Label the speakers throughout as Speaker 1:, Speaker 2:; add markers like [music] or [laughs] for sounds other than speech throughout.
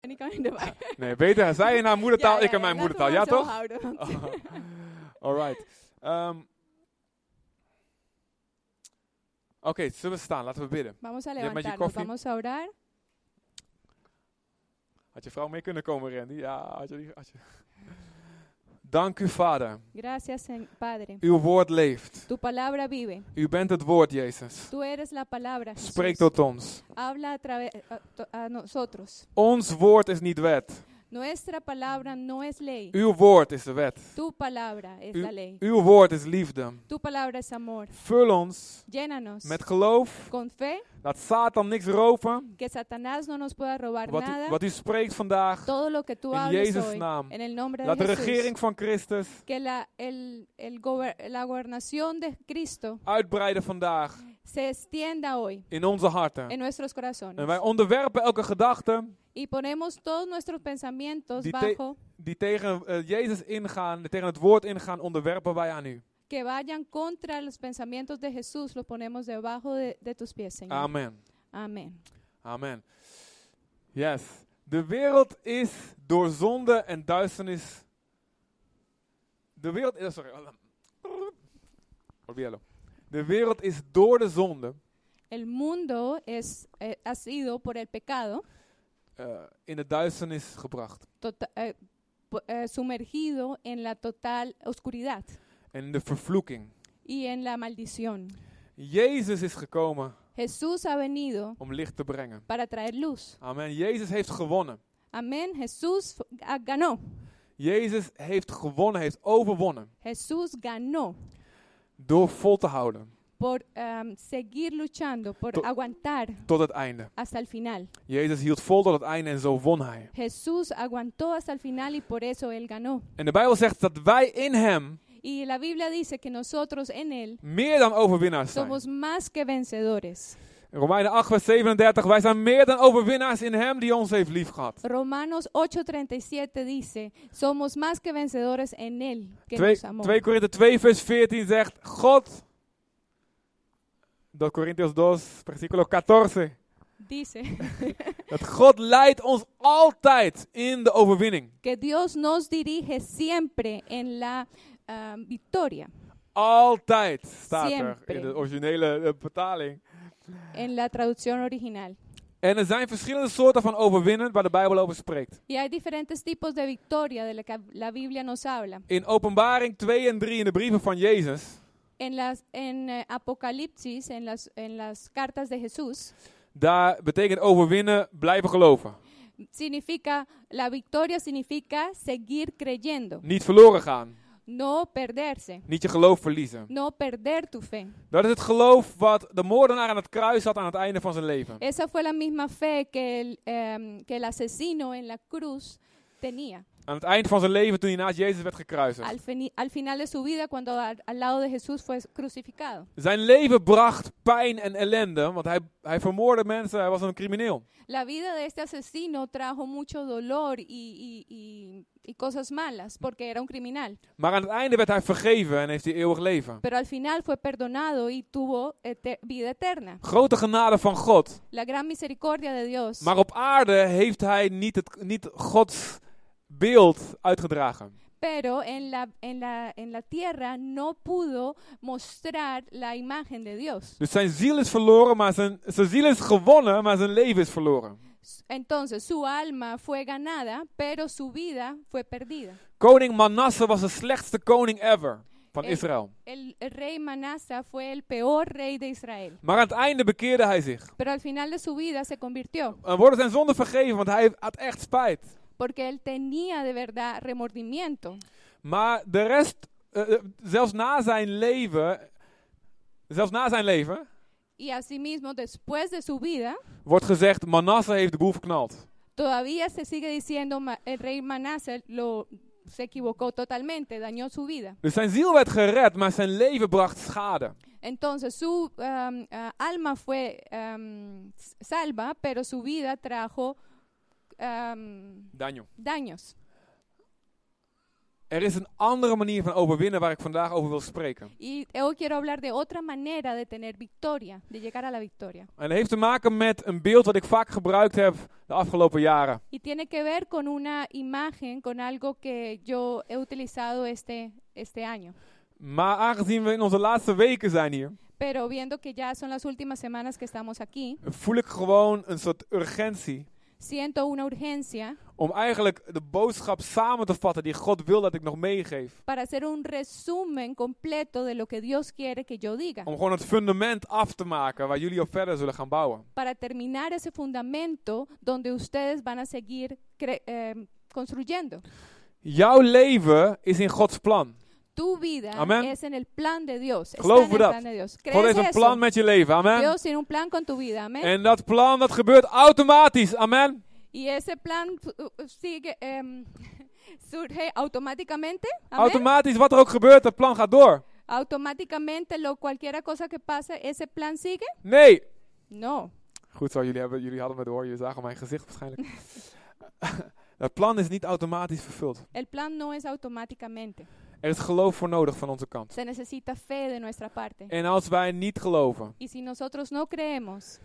Speaker 1: kan
Speaker 2: [laughs]
Speaker 1: je erbij.
Speaker 2: Nee, beter. Zij in haar moedertaal, ik in
Speaker 1: laten
Speaker 2: mijn
Speaker 1: we
Speaker 2: moedertaal. Ja,
Speaker 1: het zo
Speaker 2: toch?
Speaker 1: houden,
Speaker 2: [laughs]
Speaker 1: want-
Speaker 2: Alright. Ehm, Oké, zullen we staan? Laten we bidden.
Speaker 1: Vamos a
Speaker 2: Je hebt met je
Speaker 1: levantarnos,
Speaker 2: koffie.
Speaker 1: vamos a orar.
Speaker 2: Had je vrouw mee kunnen komen, Randy? Ja, had je, die- had je. Dank u, Vader.
Speaker 1: Gracias, Sen- Padre.
Speaker 2: Uw woord leeft.
Speaker 1: Tu palabra vive.
Speaker 2: U bent het woord, Jezus.
Speaker 1: Tú eres la palabra. Jesús.
Speaker 2: Spreek tot ons.
Speaker 1: Habla a, través a, to- a nosotros.
Speaker 2: Ons woord is niet wet.
Speaker 1: Nuestra palabra no es ley.
Speaker 2: Uw woord is de wet.
Speaker 1: Tu palabra es la ley.
Speaker 2: Uw woord is liefde.
Speaker 1: Tu palabra es amor.
Speaker 2: Vul ons
Speaker 1: Llénanos
Speaker 2: met geloof.
Speaker 1: con fe
Speaker 2: Laat Satan niks roven.
Speaker 1: que Satanás no nos pueda robar
Speaker 2: Wat u,
Speaker 1: nada.
Speaker 2: wat u spreekt vandaag.
Speaker 1: Todo lo que tú
Speaker 2: In
Speaker 1: hables
Speaker 2: Jezus'
Speaker 1: hoy,
Speaker 2: naam.
Speaker 1: en el nombre
Speaker 2: Laat de
Speaker 1: de Jesús,
Speaker 2: regering van Christus
Speaker 1: que la, el, el gober- la gobernación de Cristo
Speaker 2: uitbreiden vandaag
Speaker 1: se extienda hoy
Speaker 2: in onze harten.
Speaker 1: en nuestros corazones.
Speaker 2: En wij onderwerpen elke gedachte
Speaker 1: Y ponemos todos nuestros pensamientos
Speaker 2: Die te-
Speaker 1: bajo
Speaker 2: die tegen eh, Jezus ingaan, tegen het woord ingaan, onderwerpen wij aan u.
Speaker 1: que vayan contra los pensamientos de Jesús, los ponemos debajo de, de tus pies, Señor.
Speaker 2: Amen.
Speaker 1: Amén.
Speaker 2: Amen. Yes. De wereld is door zonde en duisternis. De wereld. eh, Sorry. [laughs] Olvídalo. De wereld is door de zonde
Speaker 1: El mundo es, eh, ha sido por el pecado
Speaker 2: eh, in de duisternis gebracht.
Speaker 1: tota- eh, po- eh, sumergido en la total oscuridad
Speaker 2: En in de vervloeking.
Speaker 1: y en la maldición.
Speaker 2: Jezus is gekomen
Speaker 1: Jesús ha venido
Speaker 2: om licht te brengen.
Speaker 1: para traer luz.
Speaker 2: Amen. Jezus heeft gewonnen.
Speaker 1: Amén. Jesús f- ah, ganó.
Speaker 2: Jezus heeft gewonnen, heeft overwonnen.
Speaker 1: Jesús ganó
Speaker 2: Door vol te houden.
Speaker 1: por em, seguir luchando, por
Speaker 2: To-
Speaker 1: aguantar
Speaker 2: Tot het einde.
Speaker 1: hasta el final.
Speaker 2: Jezus hield vol tot het einde en zo won hij.
Speaker 1: Jesús aguantó hasta el final y por eso él ganó.
Speaker 2: En de Bijbel zegt dat wij in hem
Speaker 1: Y la Biblia dice que nosotros en Él
Speaker 2: meer dan overwinnaars zijn.
Speaker 1: somos más que vencedores.
Speaker 2: Romeinen 8, vers 37. Wij zijn meer dan overwinnaars in hem die ons heeft liefgehad.
Speaker 1: Romanos 8:37 dice, somos más que vencedores en Él que
Speaker 2: 2
Speaker 1: nos amó.
Speaker 2: 2 Korinthe 2, vers 14 zegt God. 2 Corinthians 2, versículo 14.
Speaker 1: Dice
Speaker 2: Dat God leidt ons altijd in de overwinning.
Speaker 1: que Dios nos dirige siempre en la ah, victoria,
Speaker 2: Altijd staat er
Speaker 1: Siempre.
Speaker 2: in de originele eh, vertaling.
Speaker 1: en la traducción original.
Speaker 2: En er zijn verschillende soorten van overwinnen waar de Bijbel over spreekt.
Speaker 1: Y hay diferentes tipos de victoria de la que la Biblia nos habla.
Speaker 2: In openbaring 2 en 3 in de brieven van Jezus,
Speaker 1: En, las, en eh, Apocalipsis, en las, en las cartas de Jesús,
Speaker 2: daar betekent overwinnen blijven geloven.
Speaker 1: significa, la victoria significa seguir creyendo,
Speaker 2: Niet verloren gaan.
Speaker 1: no perderse.
Speaker 2: Niet je geloof verliezen.
Speaker 1: no perder tu fe.
Speaker 2: Dat is het geloof wat de moordenaar aan het kruis had aan het einde van zijn leven.
Speaker 1: Esa fue la misma fe que el, em, que el asesino en la cruz tenía
Speaker 2: Aan het eind van zijn leven toen hij naast Jezus werd
Speaker 1: al,
Speaker 2: gekruisigd.
Speaker 1: fini- al final de su vida cuando al, al lado de Jesús fue crucificado.
Speaker 2: Zijn leven bracht pijn en ellende, want hij, hij vermoorde mensen, hij was een crimineel.
Speaker 1: La vida de este asesino trajo mucho dolor y, y- y- y cosas malas porque era un criminal,
Speaker 2: Maar aan het einde werd hij vergeven en heeft hij eeuwig leven.
Speaker 1: pero al final fue perdonado y tuvo ete- vida eterna.
Speaker 2: Grote genade van God.
Speaker 1: La gran misericordia de Dios.
Speaker 2: Maar op aarde heeft hij niet, het, niet Gods beeld uitgedragen.
Speaker 1: Pero en la, en, la, en la tierra no pudo mostrar la imagen de Dios.
Speaker 2: Dus zijn ziel is verloren, maar zijn, zijn ziel is gewonnen, maar zijn leven is verloren.
Speaker 1: S- Entonces su alma fue ganada, pero su vida fue perdida.
Speaker 2: Koning Manasse was de slechtste koning ever van
Speaker 1: Hey.
Speaker 2: Israël.
Speaker 1: El el rey Manasa fue el peor rey de Israel,
Speaker 2: Maar aan het einde bekeerde hij zich.
Speaker 1: pero al final de su vida se convirtió,
Speaker 2: En worden zijn zonden vergeven, want hij had echt spijt.
Speaker 1: porque él tenía de verdad remordimiento.
Speaker 2: Maar de rest, eh, eh, zelfs na zijn leven, zelfs na zijn leven,
Speaker 1: Y asimismo, después de su vida,
Speaker 2: wordt gezegd, Manasse heeft de boel verknald.
Speaker 1: todavía se sigue diciendo ma- el rey Manasa lo se equivocó totalmente, dañó su vida.
Speaker 2: Dus zijn ziel werd gered, maar zijn leven bracht schade.
Speaker 1: Entonces su um, ah, alma fue um, s- salva, pero su vida trajo um,
Speaker 2: Daniel.
Speaker 1: daños.
Speaker 2: Er is een andere manier van overwinnen waar ik vandaag over wil spreken.
Speaker 1: Y hoy quiero hablar de otra manera de tener victoria, de llegar a la victoria.
Speaker 2: En dat heeft te maken met een beeld dat ik vaak gebruikt heb de afgelopen jaren.
Speaker 1: Y tiene que ver con una imagen, con algo que yo he utilizado este, este año.
Speaker 2: Maar aangezien we in onze laatste weken zijn hier,
Speaker 1: Pero viendo que ya son las últimas semanas que estamos aquí,
Speaker 2: voel ik gewoon een soort urgentie
Speaker 1: siento una urgencia
Speaker 2: om eigenlijk de boodschap samen te vatten die God wil dat ik nog meegeef.
Speaker 1: para hacer un resumen completo de lo que Dios quiere que yo diga,
Speaker 2: Om gewoon het fundament af te maken waar jullie op verder zullen gaan bouwen.
Speaker 1: para terminar ese fundamento donde ustedes van a seguir cre- eh, construyendo.
Speaker 2: Jouw leven is in Gods plan.
Speaker 1: Tu vida
Speaker 2: Amén.
Speaker 1: es en el plan de Dios. Está
Speaker 2: Geloof
Speaker 1: en el
Speaker 2: dat.
Speaker 1: plan de Dios.
Speaker 2: God
Speaker 1: ¿Crees
Speaker 2: heeft een
Speaker 1: eso?
Speaker 2: plan met je leven. Amen.
Speaker 1: Dios tiene un plan con tu vida, amén.
Speaker 2: En dat plan dat gebeurt automatisch. Amen.
Speaker 1: y ese plan uh, uh, sigue, em, [laughs] surge automáticamente, amén.
Speaker 2: Automatisch wat er ook gebeurt, dat plan gaat door.
Speaker 1: automáticamente, lo cualquiera cosa que pase, ese plan sigue.
Speaker 2: Nee.
Speaker 1: No,
Speaker 2: Goed zo, jullie, hebben, jullie hadden me door. Jullie zagen mijn gezicht waarschijnlijk. [laughs] dat plan is niet automatisch vervuld.
Speaker 1: el plan no es automáticamente.
Speaker 2: Er is geloof voor nodig van onze kant.
Speaker 1: Se necesita fe de nuestra parte.
Speaker 2: En als wij niet geloven,
Speaker 1: Y si nosotros no creemos,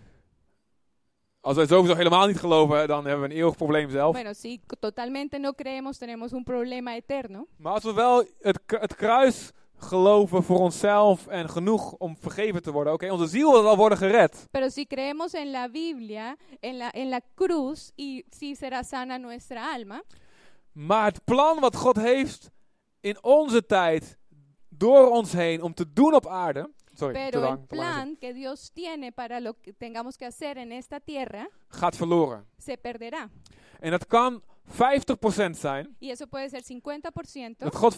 Speaker 2: als wij sowieso helemaal niet geloven, dan hebben we een eeuwig probleem zelf.
Speaker 1: bueno, si c- totalmente no creemos, tenemos un problema eterno.
Speaker 2: Maar als we wel het, k- het kruis geloven voor onszelf en genoeg om vergeven te worden, oké, onze ziel zal worden gered.
Speaker 1: Pero si creemos en la Biblia, en la, en la cruz, y si será sana nuestra alma,
Speaker 2: Maar het plan wat God heeft in onze tijd, door ons heen, om te doen op aarde. Sorry, te
Speaker 1: Pero
Speaker 2: lang,
Speaker 1: el
Speaker 2: te lang is het,
Speaker 1: plan que Dios tiene para lo que tengamos que hacer en esta tierra
Speaker 2: gaat verloren.
Speaker 1: se perderá.
Speaker 2: En dat kan 50% zijn.
Speaker 1: Y eso puede ser 50%,
Speaker 2: Dat God 50%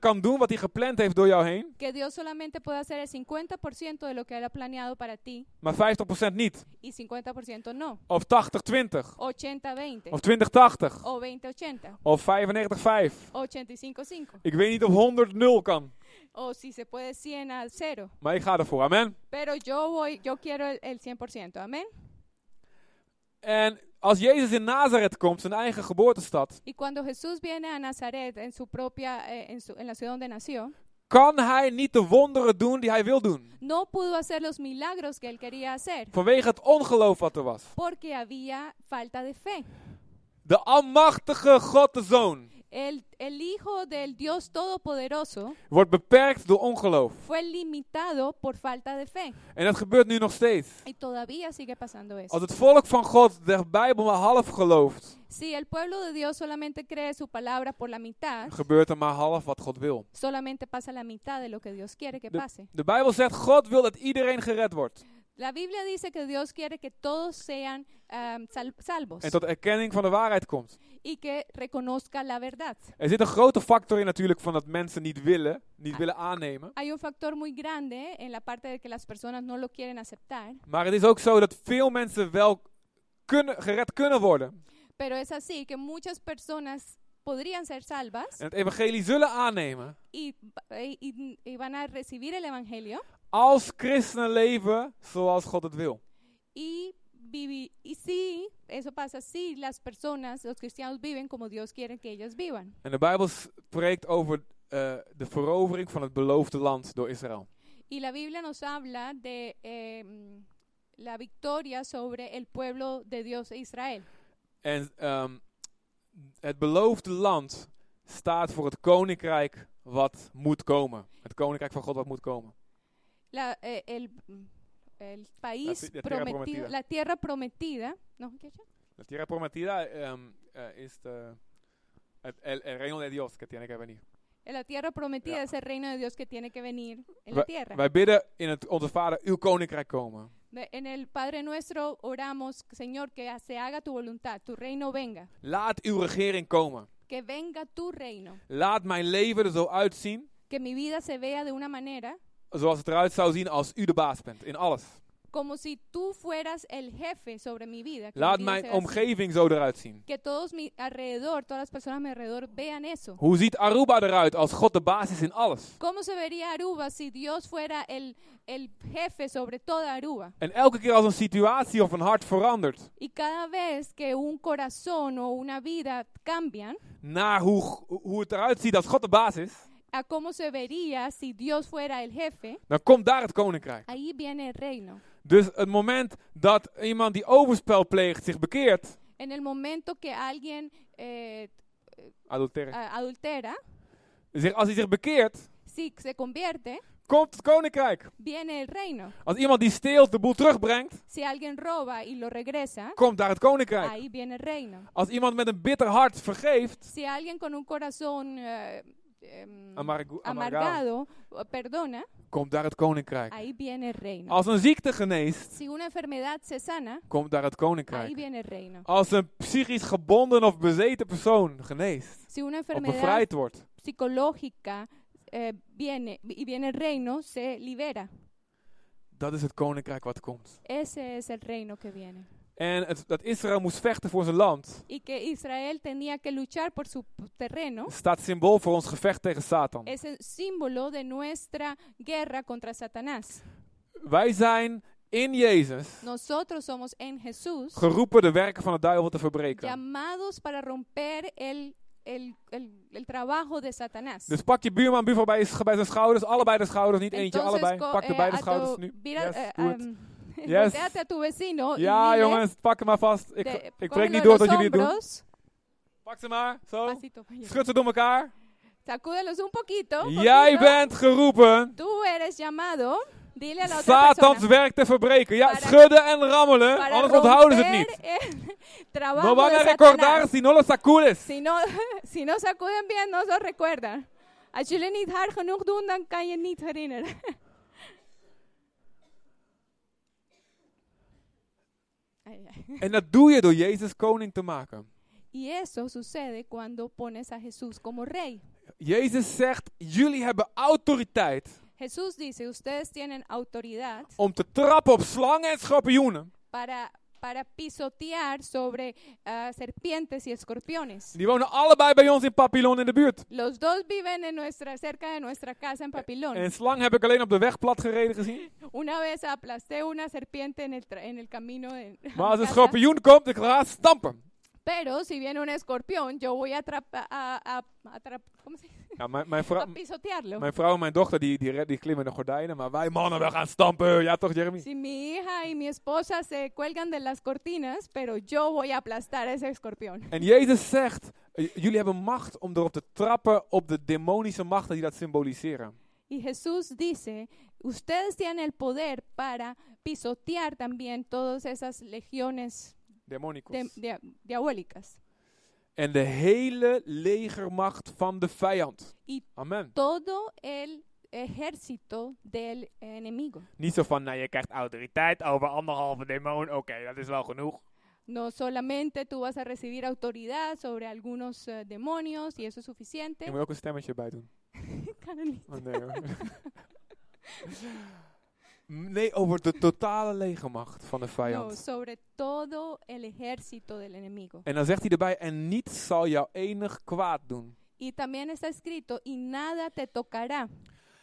Speaker 2: kan doen wat hij gepland heeft door jou heen,
Speaker 1: que Dios solamente puede hacer el 50% de lo que Él ha planeado para ti
Speaker 2: maar 50% niet.
Speaker 1: y 50% no.
Speaker 2: Of 80-20.
Speaker 1: 80-20
Speaker 2: Of 20-80.
Speaker 1: o 20-80
Speaker 2: Of 95-5.
Speaker 1: o 85-5
Speaker 2: Ik weet niet of 100-0 kan.
Speaker 1: o si se puede 100 a 0.
Speaker 2: Maar ik ga ervoor. Amen.
Speaker 1: Pero yo voy, yo quiero el, el 100%, amén.
Speaker 2: En als Jezus in Nazareth komt, zijn eigen geboortestad,
Speaker 1: Y cuando Jesús viene a Nazaret en su propia, eh, en, su- en la ciudad donde nació,
Speaker 2: kan hij niet de wonderen doen die hij wil doen.
Speaker 1: no pudo hacer los milagros que él quería hacer.
Speaker 2: Vanwege het ongeloof wat er was.
Speaker 1: porque había falta de fe.
Speaker 2: De almachtige God de Zoon
Speaker 1: El, el Hijo del Dios Todopoderoso
Speaker 2: wordt beperkt door ongeloof.
Speaker 1: fue limitado por falta de fe.
Speaker 2: En dat gebeurt nu nog steeds.
Speaker 1: Y todavía sigue pasando
Speaker 2: Als
Speaker 1: eso.
Speaker 2: het volk van God de Bijbel maar half gelooft,
Speaker 1: Si el pueblo de Dios solamente cree su palabra por la mitad,
Speaker 2: gebeurt er maar half wat God wil.
Speaker 1: solamente pasa la mitad de lo que Dios quiere que pase.
Speaker 2: De Bijbel zegt, God wil dat iedereen gered wordt.
Speaker 1: La Biblia dice que Dios quiere que todos sean am, sal- salvos
Speaker 2: En tot erkenning van de waarheid komt.
Speaker 1: y que reconozca la verdad.
Speaker 2: Er zit een grote factor in natuurlijk van dat mensen niet willen, niet willen aannemen.
Speaker 1: Hay un factor muy grande en la parte de que las personas no lo quieren aceptar,
Speaker 2: Maar het is ook zo dat veel mensen wel kunnen, gered kunnen worden.
Speaker 1: pero es así que muchas personas podrían ser salvas,
Speaker 2: En het evangelie zullen aannemen
Speaker 1: y, y- y- y van a recibir el Evangelio
Speaker 2: als christenen leven zoals God het wil.
Speaker 1: y vivi- Y sí, eso pasa si las personas, los cristianos viven como Dios quiere que ellos vivan.
Speaker 2: En de Bijbel spreekt over eh, de verovering van het beloofde land door Israël.
Speaker 1: Y la Biblia nos habla de eh, mm, la victoria sobre el pueblo de Dios e Israel.
Speaker 2: En ehm, het beloofde land staat voor het koninkrijk wat moet komen. Het koninkrijk van God wat moet komen.
Speaker 1: La, eh, el, mm, el país
Speaker 2: ti- la tierra
Speaker 1: prometido,
Speaker 2: prometida.
Speaker 1: la tierra prometida, ¿no? ¿Qué es eso?
Speaker 2: La tierra prometida ehm, eh, is de, het el, el reino de Dios que tiene que venir.
Speaker 1: La tierra prometida
Speaker 2: Ya.
Speaker 1: es el reino de Dios que tiene que venir en la tierra.
Speaker 2: Wij bidden in het Onze Vader, uw koninkrijk komen.
Speaker 1: De- En el Padre nuestro oramos, Señor, que ha- se haga tu voluntad, tu reino venga,
Speaker 2: Laat uw regering komen.
Speaker 1: que venga tu reino,
Speaker 2: Laat mijn leven er zo uitzien
Speaker 1: que mi vida se vea de una manera
Speaker 2: zoals het eruit zou zien als u de baas bent in alles.
Speaker 1: como si tú fueras el jefe sobre mi vida. que mi
Speaker 2: Laat
Speaker 1: vida
Speaker 2: mijn
Speaker 1: sea así.
Speaker 2: omgeving zo eruit zien.
Speaker 1: Que todos mi alrededor, todas las personas a mi alrededor vean eso.
Speaker 2: Hoe ziet Aruba eruit als God de baas is in alles?
Speaker 1: ¿Cómo se vería Aruba si Dios fuera el, el jefe sobre toda Aruba?
Speaker 2: En elke keer als een situatie of een hart verandert
Speaker 1: Y cada vez que un corazón o una vida cambian,
Speaker 2: naar hoe, g- hoe het eruit ziet als God de baas is,
Speaker 1: a cómo se vería si Dios fuera el jefe,
Speaker 2: dan komt daar het koninkrijk.
Speaker 1: ahí viene el reino.
Speaker 2: Dus het moment dat iemand die overspel pleegt zich bekeert,
Speaker 1: En el momento que alguien eh,
Speaker 2: adulterer,
Speaker 1: a- adultera,
Speaker 2: zich, als hij zich bekeert,
Speaker 1: si se convierte,
Speaker 2: komt het koninkrijk.
Speaker 1: viene el reino.
Speaker 2: Als iemand die steelt de boel terugbrengt,
Speaker 1: Si alguien roba y lo regresa,
Speaker 2: komt daar het koninkrijk.
Speaker 1: ahí viene el reino.
Speaker 2: Als iemand met een bitter hart vergeeft,
Speaker 1: Si alguien con un corazón eh, em,
Speaker 2: amargo-
Speaker 1: amargado
Speaker 2: amargado,
Speaker 1: eh, perdona,
Speaker 2: komt daar het koninkrijk.
Speaker 1: ahí viene el reino.
Speaker 2: Als een ziekte geneest,
Speaker 1: Si una enfermedad se sana,
Speaker 2: komt daar het
Speaker 1: ahí
Speaker 2: koninkrijk.
Speaker 1: viene el reino.
Speaker 2: Als een psychisch gebonden of bezeten persoon geneest
Speaker 1: Si una
Speaker 2: of
Speaker 1: enfermedad
Speaker 2: bevrijd wordt,
Speaker 1: psicológica eh, viene y viene el reino, se libera.
Speaker 2: dat is het koninkrijk wat komt.
Speaker 1: Ese es el reino que viene.
Speaker 2: En het, dat Israël moest vechten voor zijn land,
Speaker 1: Y que Israel tenía que luchar por su p- terreno.
Speaker 2: staat symbool voor ons gevecht tegen Satan.
Speaker 1: Es el símbolo de nuestra guerra contra Satanás.
Speaker 2: Wij zijn in Jezus
Speaker 1: Nosotros somos en Jesús
Speaker 2: geroepen de werken van de duivel te verbreken.
Speaker 1: llamados para romper el, el, el- el trabajo de Satanás.
Speaker 2: Dus pak je buurman, buurvrouw bij, je- bij zijn schouders, allebei de schouders, niet eentje,
Speaker 1: Entonces,
Speaker 2: allebei.
Speaker 1: co-
Speaker 2: Pak er
Speaker 1: eh,
Speaker 2: beide
Speaker 1: a tu-
Speaker 2: schouders nu.
Speaker 1: mira,
Speaker 2: Yes,
Speaker 1: eh,
Speaker 2: doe het.
Speaker 1: am,
Speaker 2: Yes.
Speaker 1: volteate a tu vecino. y
Speaker 2: Ja,
Speaker 1: dile
Speaker 2: jongens, pak hem maar vast. Ik,
Speaker 1: Oh, de-
Speaker 2: ik breek
Speaker 1: cógelo
Speaker 2: niet
Speaker 1: de los
Speaker 2: door dat jullie het doen.
Speaker 1: hombros.
Speaker 2: Pak ze maar, zo.
Speaker 1: Pasito, oye.
Speaker 2: Schud ze door elkaar.
Speaker 1: Sacúdelos un poquito. un
Speaker 2: Jij
Speaker 1: poquito.
Speaker 2: bent geroepen
Speaker 1: Tú eres llamado. Dile a la otra
Speaker 2: Satans
Speaker 1: persona.
Speaker 2: werk te verbreken. Ja,
Speaker 1: Para-
Speaker 2: schudden en rammelen,
Speaker 1: Para
Speaker 2: anders onthouden ze het
Speaker 1: romper
Speaker 2: niet.
Speaker 1: el [laughs] trabajo
Speaker 2: No van
Speaker 1: de
Speaker 2: a
Speaker 1: Satanás.
Speaker 2: recordar si no lo sacudes.
Speaker 1: Si no, [laughs] si no sacuden bien, no se recuerdan. Als jullie niet hard genoeg doen, dan kan je niet herinneren. [laughs] Ay, ay.
Speaker 2: En dat doe je door Jezus koning te maken.
Speaker 1: Y eso sucede cuando pones a Jesús como rey.
Speaker 2: Jezus zegt, jullie hebben autoriteit
Speaker 1: Jesús dice, ustedes tienen autoridad
Speaker 2: om te trappen op slangen en schorpioenen.
Speaker 1: para, para pisotear sobre ah, serpientes y escorpiones.
Speaker 2: Die wonen allebei bij ons in Papillon in de buurt.
Speaker 1: Los dos viven en nuestra, cerca de nuestra casa en Papilón.
Speaker 2: En een slang heb ik alleen op de weg plat gereden gezien.
Speaker 1: Una vez aplasté una serpiente en el, tra- en el camino de [laughs] a mi
Speaker 2: Maar als een
Speaker 1: casa,
Speaker 2: schorpioen komt, ik ga stampen.
Speaker 1: pero si viene un escorpión, yo voy a, atrapa- a, a- a atrap- ¿cómo se dice?
Speaker 2: Ja, mijn, mijn,
Speaker 1: a
Speaker 2: vrouw,
Speaker 1: pisotearlo.
Speaker 2: mijn vrouw en mijn dochter die, die, red- die klimmen de gordijnen. Maar wij mannen, we gaan stampen. Ja toch, Jeremy?
Speaker 1: Si mi hija y mi esposa se cuelgan de las cortinas, pero yo voy a aplastar a ese escorpión.
Speaker 2: En Jezus zegt, eh, jullie hebben macht om erop te trappen op de demonische machten die dat symboliseren.
Speaker 1: Y Jesús dice, ustedes tienen el poder para pisotear también todas esas legiones
Speaker 2: Demonicos.
Speaker 1: de- dia- diabólicas.
Speaker 2: en de hele legermacht van de vijand.
Speaker 1: I-
Speaker 2: Amen.
Speaker 1: Todo el ejército del enemigo.
Speaker 2: Niet zo van, nou je krijgt autoriteit over anderhalve demon. Oké, dat is wel genoeg.
Speaker 1: No solamente tú vas a recibir autoridad sobre algunos eh, demonios y eso es suficiente. [laughs]
Speaker 2: Je moet ook een stemmetje bij doen.
Speaker 1: Carolina.
Speaker 2: Oh, nee
Speaker 1: [laughs]
Speaker 2: hoor. nee, over de totale legermacht van de vijand.
Speaker 1: No, sobre todo el ejército del enemigo.
Speaker 2: En dan zegt hij erbij, en niets zal jou enig kwaad doen.
Speaker 1: Y también está escrito, y nada te tocará.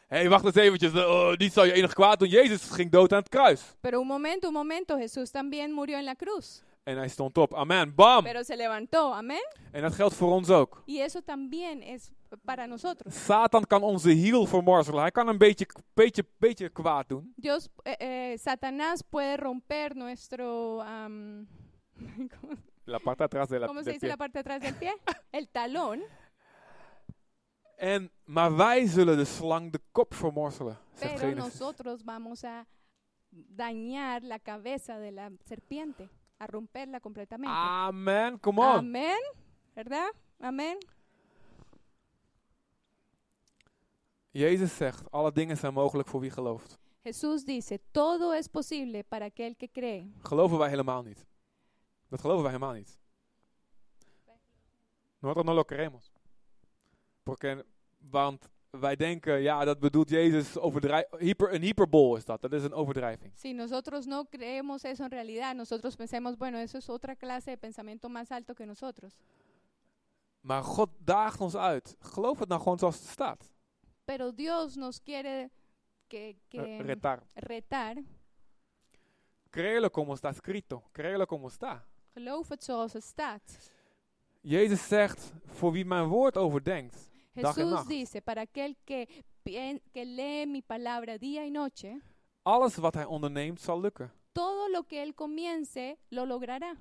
Speaker 2: Hé, hey, wacht eens eventjes. eh, oh, niets zal je enig kwaad doen. Jezus ging dood aan het kruis.
Speaker 1: Pero un momento, un momento, Jesús también murió en la cruz,
Speaker 2: En hij stond op. Amen. Bam.
Speaker 1: pero se levantó, amén.
Speaker 2: En dat geldt voor ons ook.
Speaker 1: Y eso también es para nosotros.
Speaker 2: Satan kan onze hiel vermorzelen. Hij kan een beetje, beetje, beetje kwaad doen.
Speaker 1: Dios, eh, eh, Satanás puede romper nuestro, am, ¿cómo,
Speaker 2: La parte atrás de la,
Speaker 1: cómo se
Speaker 2: del
Speaker 1: dice
Speaker 2: pie.
Speaker 1: la parte de atrás del
Speaker 2: [laughs]
Speaker 1: pie? El talón.
Speaker 2: En, maar wij zullen de slang de kop vermorzelen. Zegt
Speaker 1: Pero
Speaker 2: Genesis.
Speaker 1: nosotros vamos a dañar la cabeza de la serpiente, a romperla completamente.
Speaker 2: Amen. Come on.
Speaker 1: Amén, ¿verdad? Amén.
Speaker 2: Jezus zegt, alle dingen zijn mogelijk voor wie gelooft.
Speaker 1: Jesús dice, todo es posible para aquel que cree.
Speaker 2: Geloven wij helemaal niet. Dat geloven wij helemaal niet. Nosotros no lo creemos. Porque, want wij denken, ja, dat bedoelt Jezus, overdrij hyper, een hyperbol is dat. Dat is een overdrijving.
Speaker 1: Si nosotros no creemos eso en realidad, nosotros pensemos, bueno, eso es otra clase de pensamiento más alto que nosotros.
Speaker 2: Maar God daagt ons uit. Geloof het nou gewoon zoals het staat.
Speaker 1: Pero Dios nos quiere que,
Speaker 2: Eh,
Speaker 1: que,
Speaker 2: Retar.
Speaker 1: retar.
Speaker 2: Créelo como está escrito. Créelo como está.
Speaker 1: Geloof het zoals het staat.
Speaker 2: Jezus zegt, voor wie mijn woord overdenkt. Dag en
Speaker 1: Jesús
Speaker 2: nacht.
Speaker 1: dice, para aquel que, pien- que lee mi palabra día y noche,
Speaker 2: Alles wat hij onderneemt zal lukken.
Speaker 1: todo lo que él comience lo logrará.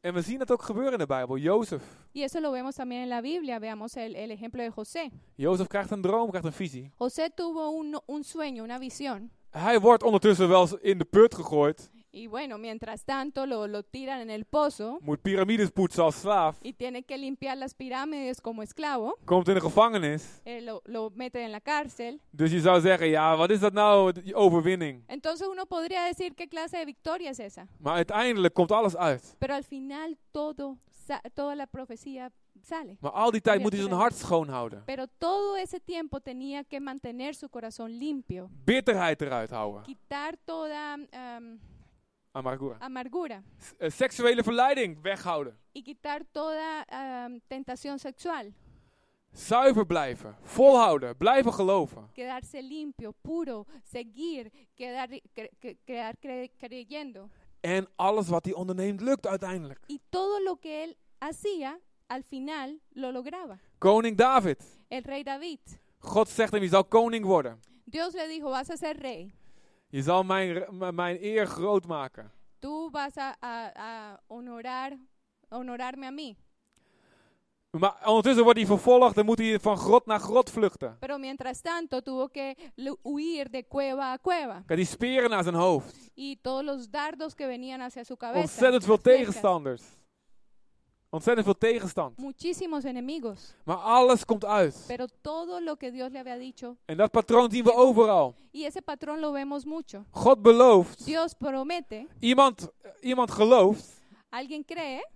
Speaker 2: En we zien dat ook gebeuren in de Bijbel. Jozef.
Speaker 1: Y eso lo vemos también en la Biblia. Veamos el, el ejemplo de José.
Speaker 2: Jozef krijgt een droom, krijgt een visie.
Speaker 1: José tuvo un, un sueño, una visión.
Speaker 2: Hij wordt ondertussen wel eens in de put gegooid.
Speaker 1: Y bueno, mientras tanto lo, lo tiran en el pozo
Speaker 2: Moet piramides poetsen als slaaf.
Speaker 1: y tiene que limpiar las pirámides como esclavo.
Speaker 2: Komt in de gevangenis.
Speaker 1: Eh, lo, lo meten en la cárcel.
Speaker 2: Dus je zou zeggen, ja, wat is dat nou, die overwinning?
Speaker 1: Entonces uno podría decir qué clase de victoria es esa.
Speaker 2: Maar uiteindelijk komt alles uit.
Speaker 1: Pero al final todo, sa- toda la profecía sale.
Speaker 2: Maar al die tijd moet hij zijn hart schoon houden.
Speaker 1: Pero todo ese tiempo tenía que mantener su corazón limpio,
Speaker 2: Bitterheid eruit houden.
Speaker 1: quitar toda am,
Speaker 2: Amargura.
Speaker 1: amargura
Speaker 2: S- eh, seksuele verleiding weghouden.
Speaker 1: y quitar toda am, tentación sexual,
Speaker 2: Zuiver blijven. Volhouden. Blijven geloven.
Speaker 1: quedarse limpio, puro, seguir, quedar, cre- cre- quedar cre- creyendo.
Speaker 2: En alles wat hij onderneemt lukt uiteindelijk.
Speaker 1: Y todo lo que él hacía, al final lo lograba.
Speaker 2: Koning David.
Speaker 1: El rey David,
Speaker 2: God zegt hem, je zal koning worden.
Speaker 1: Dios le dijo, vas a ser rey,
Speaker 2: Je zal mijn, re- m- mijn eer groot maken.
Speaker 1: tú vas a, a- a honorar, honorarme a mí.
Speaker 2: Maar ondertussen wordt hij vervolgd en moet hij van grot naar grot vluchten.
Speaker 1: Pero mientras tanto tuvo que lu- huir de cueva a cueva
Speaker 2: Kijk, die speren naar zijn hoofd.
Speaker 1: y todos los dardos que venían hacia su cabeza.
Speaker 2: Ontzettend veel
Speaker 1: las flechas,
Speaker 2: tegenstanders. Ontzettend veel tegenstand.
Speaker 1: Muchísimos enemigos,
Speaker 2: Maar alles komt uit.
Speaker 1: pero todo lo que Dios le había dicho,
Speaker 2: En dat patroon zien we overal.
Speaker 1: y ese patrón lo vemos mucho.
Speaker 2: God belooft.
Speaker 1: Dios promete,
Speaker 2: Iemand, eh, iemand gelooft.
Speaker 1: alguien cree,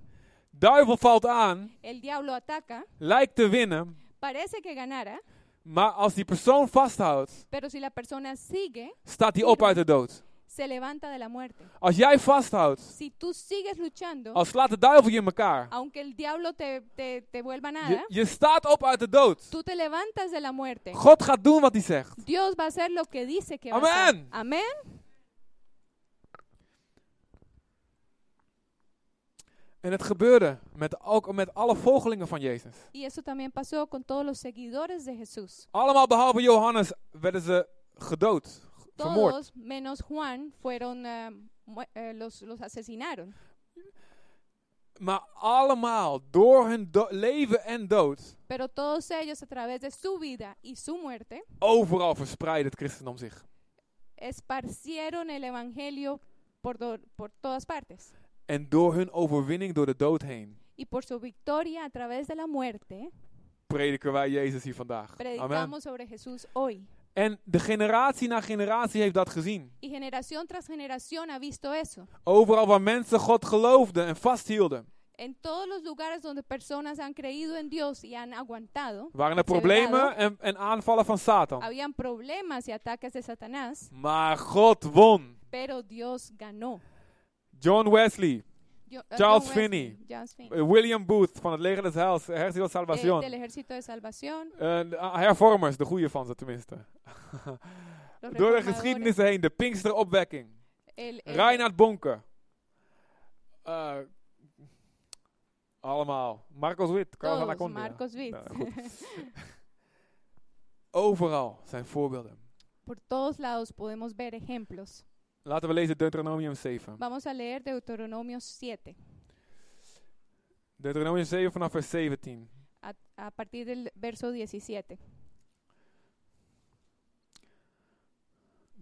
Speaker 2: Duivel valt aan.
Speaker 1: el diablo ataca,
Speaker 2: Lijkt te winnen.
Speaker 1: parece que ganara,
Speaker 2: Maar als die persoon vasthoudt,
Speaker 1: pero si la persona sigue,
Speaker 2: staat hij op uit de dood.
Speaker 1: se levanta de la muerte.
Speaker 2: Als jij vasthoudt,
Speaker 1: Si tú sigues luchando,
Speaker 2: als slaat de duivel je in elkaar.
Speaker 1: aunque el diablo te, te, te vuelva nada,
Speaker 2: Je, je staat op uit de dood.
Speaker 1: tú te levantas de la muerte.
Speaker 2: God gaat doen wat hij zegt.
Speaker 1: Dios va a hacer lo que dice que va a hacer.
Speaker 2: Amén.
Speaker 1: Amén.
Speaker 2: En het gebeurde met, ook met alle volgelingen van Jezus.
Speaker 1: Y eso también pasó con todos los seguidores de Jesús.
Speaker 2: Allemaal behalve Johannes werden ze gedood, g- vermoord.
Speaker 1: Todos, menos Juan, fueron, eh, mu- eh, los, los asesinaron.
Speaker 2: Maar allemaal door hun do- leven en dood,
Speaker 1: Pero todos ellos, a través de su vida y su muerte,
Speaker 2: overal verspreidde het christendom zich.
Speaker 1: esparcieron el Evangelio por, do- por todas partes.
Speaker 2: En door hun overwinning door de dood heen
Speaker 1: Y por su victoria a través de la muerte,
Speaker 2: prediken wij Jezus hier vandaag. Amen.
Speaker 1: predicamos sobre Jesús hoy.
Speaker 2: En de generatie na generatie heeft dat gezien.
Speaker 1: Y generación tras generación ha visto eso.
Speaker 2: Overal waar mensen God geloofden en vasthielden,
Speaker 1: En todos los lugares donde personas han creído en Dios y han aguantado,
Speaker 2: waren
Speaker 1: Perseverado.
Speaker 2: er problemen en, en aanvallen van Satan.
Speaker 1: habían problemas y ataques de Satanás,
Speaker 2: Maar God won.
Speaker 1: pero Dios ganó.
Speaker 2: John Wesley,
Speaker 1: Yo- eh,
Speaker 2: Charles
Speaker 1: John Wesley,
Speaker 2: Finney.
Speaker 1: Charles Finney,
Speaker 2: eh, William Booth van het leger des heils, Hercel
Speaker 1: eh,
Speaker 2: Salvación.
Speaker 1: del Ejército de Salvación.
Speaker 2: Eh, de, ah, hervormers, de goede van ze tenminste.
Speaker 1: los
Speaker 2: Door de
Speaker 1: reformadores,
Speaker 2: geschiedenissen heen, de Pinksteropwekking.
Speaker 1: el- el-
Speaker 2: Reinhard Bonke. Eh, allemaal. Marcos Witt, Carlos
Speaker 1: todos,
Speaker 2: Anaconda.
Speaker 1: Oh, Marcos Witt.
Speaker 2: Nou, goed. [laughs] Overal zijn voorbeelden.
Speaker 1: Por todos lados podemos ver ejemplos.
Speaker 2: Laten we lezen Deuteronomium 7.
Speaker 1: Vamos a leer Deuteronomio 7,
Speaker 2: Deuteronomium 7 vanaf vers 17.
Speaker 1: a, a partir del verso 17.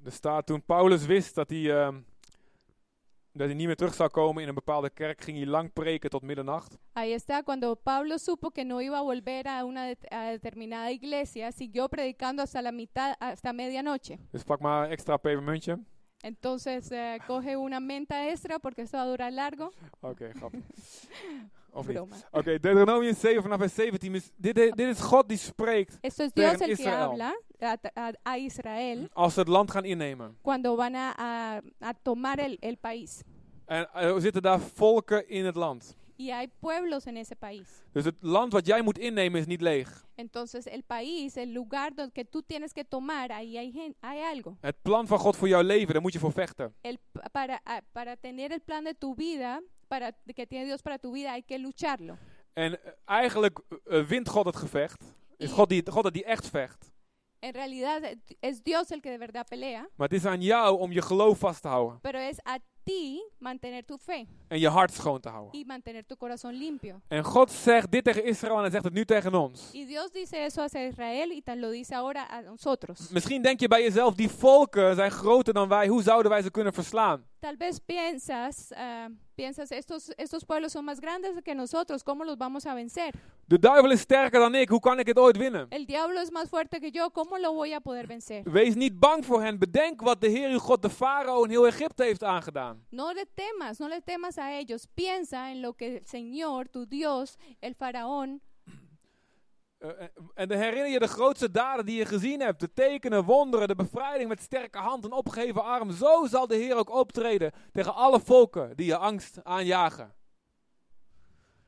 Speaker 2: Er staat toen Paulus wist dat hij, ehm, dat hij niet meer terug zou komen in een bepaalde kerk, ging hij lang preken tot middernacht.
Speaker 1: Ahí está, cuando Pablo supo que no iba a volver a una det- a determinada iglesia, siguió predicando hasta la mitad, hasta medianoche.
Speaker 2: Dus pak maar een extra pepermuntje.
Speaker 1: Entonces eh, coge una menta extra porque esto va a durar largo.
Speaker 2: Oké, grappig. Of niet?
Speaker 1: broma.
Speaker 2: Oké, Deuteronomium 7 vanaf vers 17. is- Dit, dit dit is God die spreekt
Speaker 1: Esto es
Speaker 2: Pero
Speaker 1: Dios
Speaker 2: en
Speaker 1: el que
Speaker 2: Israel.
Speaker 1: habla a, a- a Israel
Speaker 2: als ze het land gaan innemen.
Speaker 1: cuando van a, a- a tomar el, el país.
Speaker 2: En eh, er zitten daar volken in het land.
Speaker 1: Y hay pueblos en ese país.
Speaker 2: Dus het land wat jij moet innemen is niet leeg.
Speaker 1: Entonces el país, el lugar donde que tú tienes que tomar, ahí hay, gen- hay algo.
Speaker 2: Het plan van God voor jouw leven, daar moet je voor vechten.
Speaker 1: El, p- para, a- para tener el plan de tu vida, para que tiene Dios para tu vida, hay que lucharlo.
Speaker 2: En eh, eigenlijk eh, eh, wint God het gevecht. Is
Speaker 1: I-
Speaker 2: God die, God dat die echt vecht.
Speaker 1: En realidad eh, es Dios el que de verdad pelea,
Speaker 2: Maar het is aan jou om je geloof vast te houden.
Speaker 1: pero es a ti mantener tu fe
Speaker 2: En je hart schoon te houden.
Speaker 1: y mantener tu corazón limpio.
Speaker 2: En God zegt dit tegen Israël en hij zegt het nu tegen ons.
Speaker 1: Y Dios dice eso hacia Israel y tan lo dice ahora a nosotros.
Speaker 2: Misschien denk je bij jezelf, die volken zijn groter dan wij. Hoe zouden wij ze kunnen verslaan?
Speaker 1: Tal vez piensas, ah, piensas estos, estos pueblos son más grandes que nosotros, ¿cómo los vamos a vencer?
Speaker 2: De duivel is sterker dan ik. Hoe kan ik het ooit winnen?
Speaker 1: El diablo es más fuerte que yo, ¿cómo lo voy a poder vencer?
Speaker 2: Wees niet bang voor hen. Bedenk wat de Heer uw God, de farao en heel Egypte heeft aangedaan.
Speaker 1: No le temas, no le temas a ellos. Piensa en lo que el Señor, tu Dios, el faraón,
Speaker 2: Eh, eh, en dan herinner je de grootste daden die je gezien hebt. De tekenen, wonderen, de bevrijding met sterke hand en opgeheven arm. Zo zal de Heer ook optreden tegen alle volken die je angst aanjagen.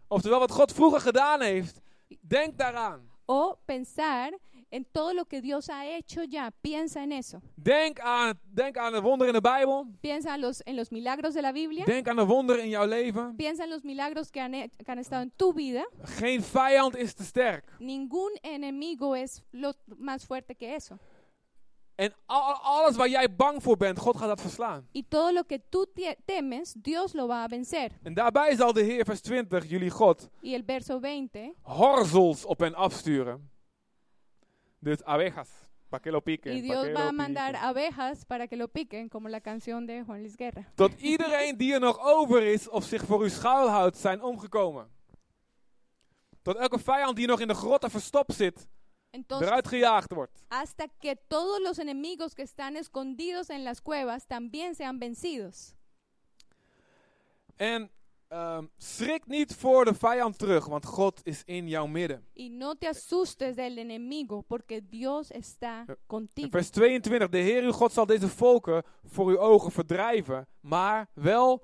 Speaker 2: Oftewel, wat God vroeger gedaan heeft, denk daaraan.
Speaker 1: o pensar en todo lo que Dios ha hecho ya. Piensa en eso.
Speaker 2: Denk aan, denk aan de wonderen in de Bijbel.
Speaker 1: Piensa en los, en los milagros de la Biblia.
Speaker 2: Denk aan de wonderen in jouw leven.
Speaker 1: Piensa en los milagros que han, he- que han estado en tu vida.
Speaker 2: Geen vijand is te sterk.
Speaker 1: Ningún enemigo es lo más fuerte que eso.
Speaker 2: En al- alles waar jij bang voor bent, God gaat dat verslaan.
Speaker 1: Y todo lo que tú tie- temes, Dios lo va a vencer.
Speaker 2: En daarbij zal de Heer, vers 20, jullie God,
Speaker 1: Y el verso 20.
Speaker 2: horzels op hen afsturen. Dus abejas. Pa' que lo piquen,
Speaker 1: Y
Speaker 2: pa'
Speaker 1: Dios
Speaker 2: que
Speaker 1: va
Speaker 2: lo
Speaker 1: a mandar
Speaker 2: piquen.
Speaker 1: abejas para que lo piquen, como la canción de Juan Luis Guerra.
Speaker 2: Tot iedereen die er nog over is of zich voor u schuilhoudt, zijn omgekomen. Tot elke vijand die nog in de grotten verstopt zit,
Speaker 1: Entonces,
Speaker 2: eruit gejaagd wordt.
Speaker 1: hasta que todos los enemigos que están escondidos en las cuevas también sean vencidos.
Speaker 2: En ehm, schrik niet voor de vijand terug, want God is in jouw midden.
Speaker 1: Y no te asustes del enemigo, porque Dios está
Speaker 2: Eh, In
Speaker 1: contigo.
Speaker 2: vers 22, de Heer uw God zal deze volken voor uw ogen verdrijven, maar wel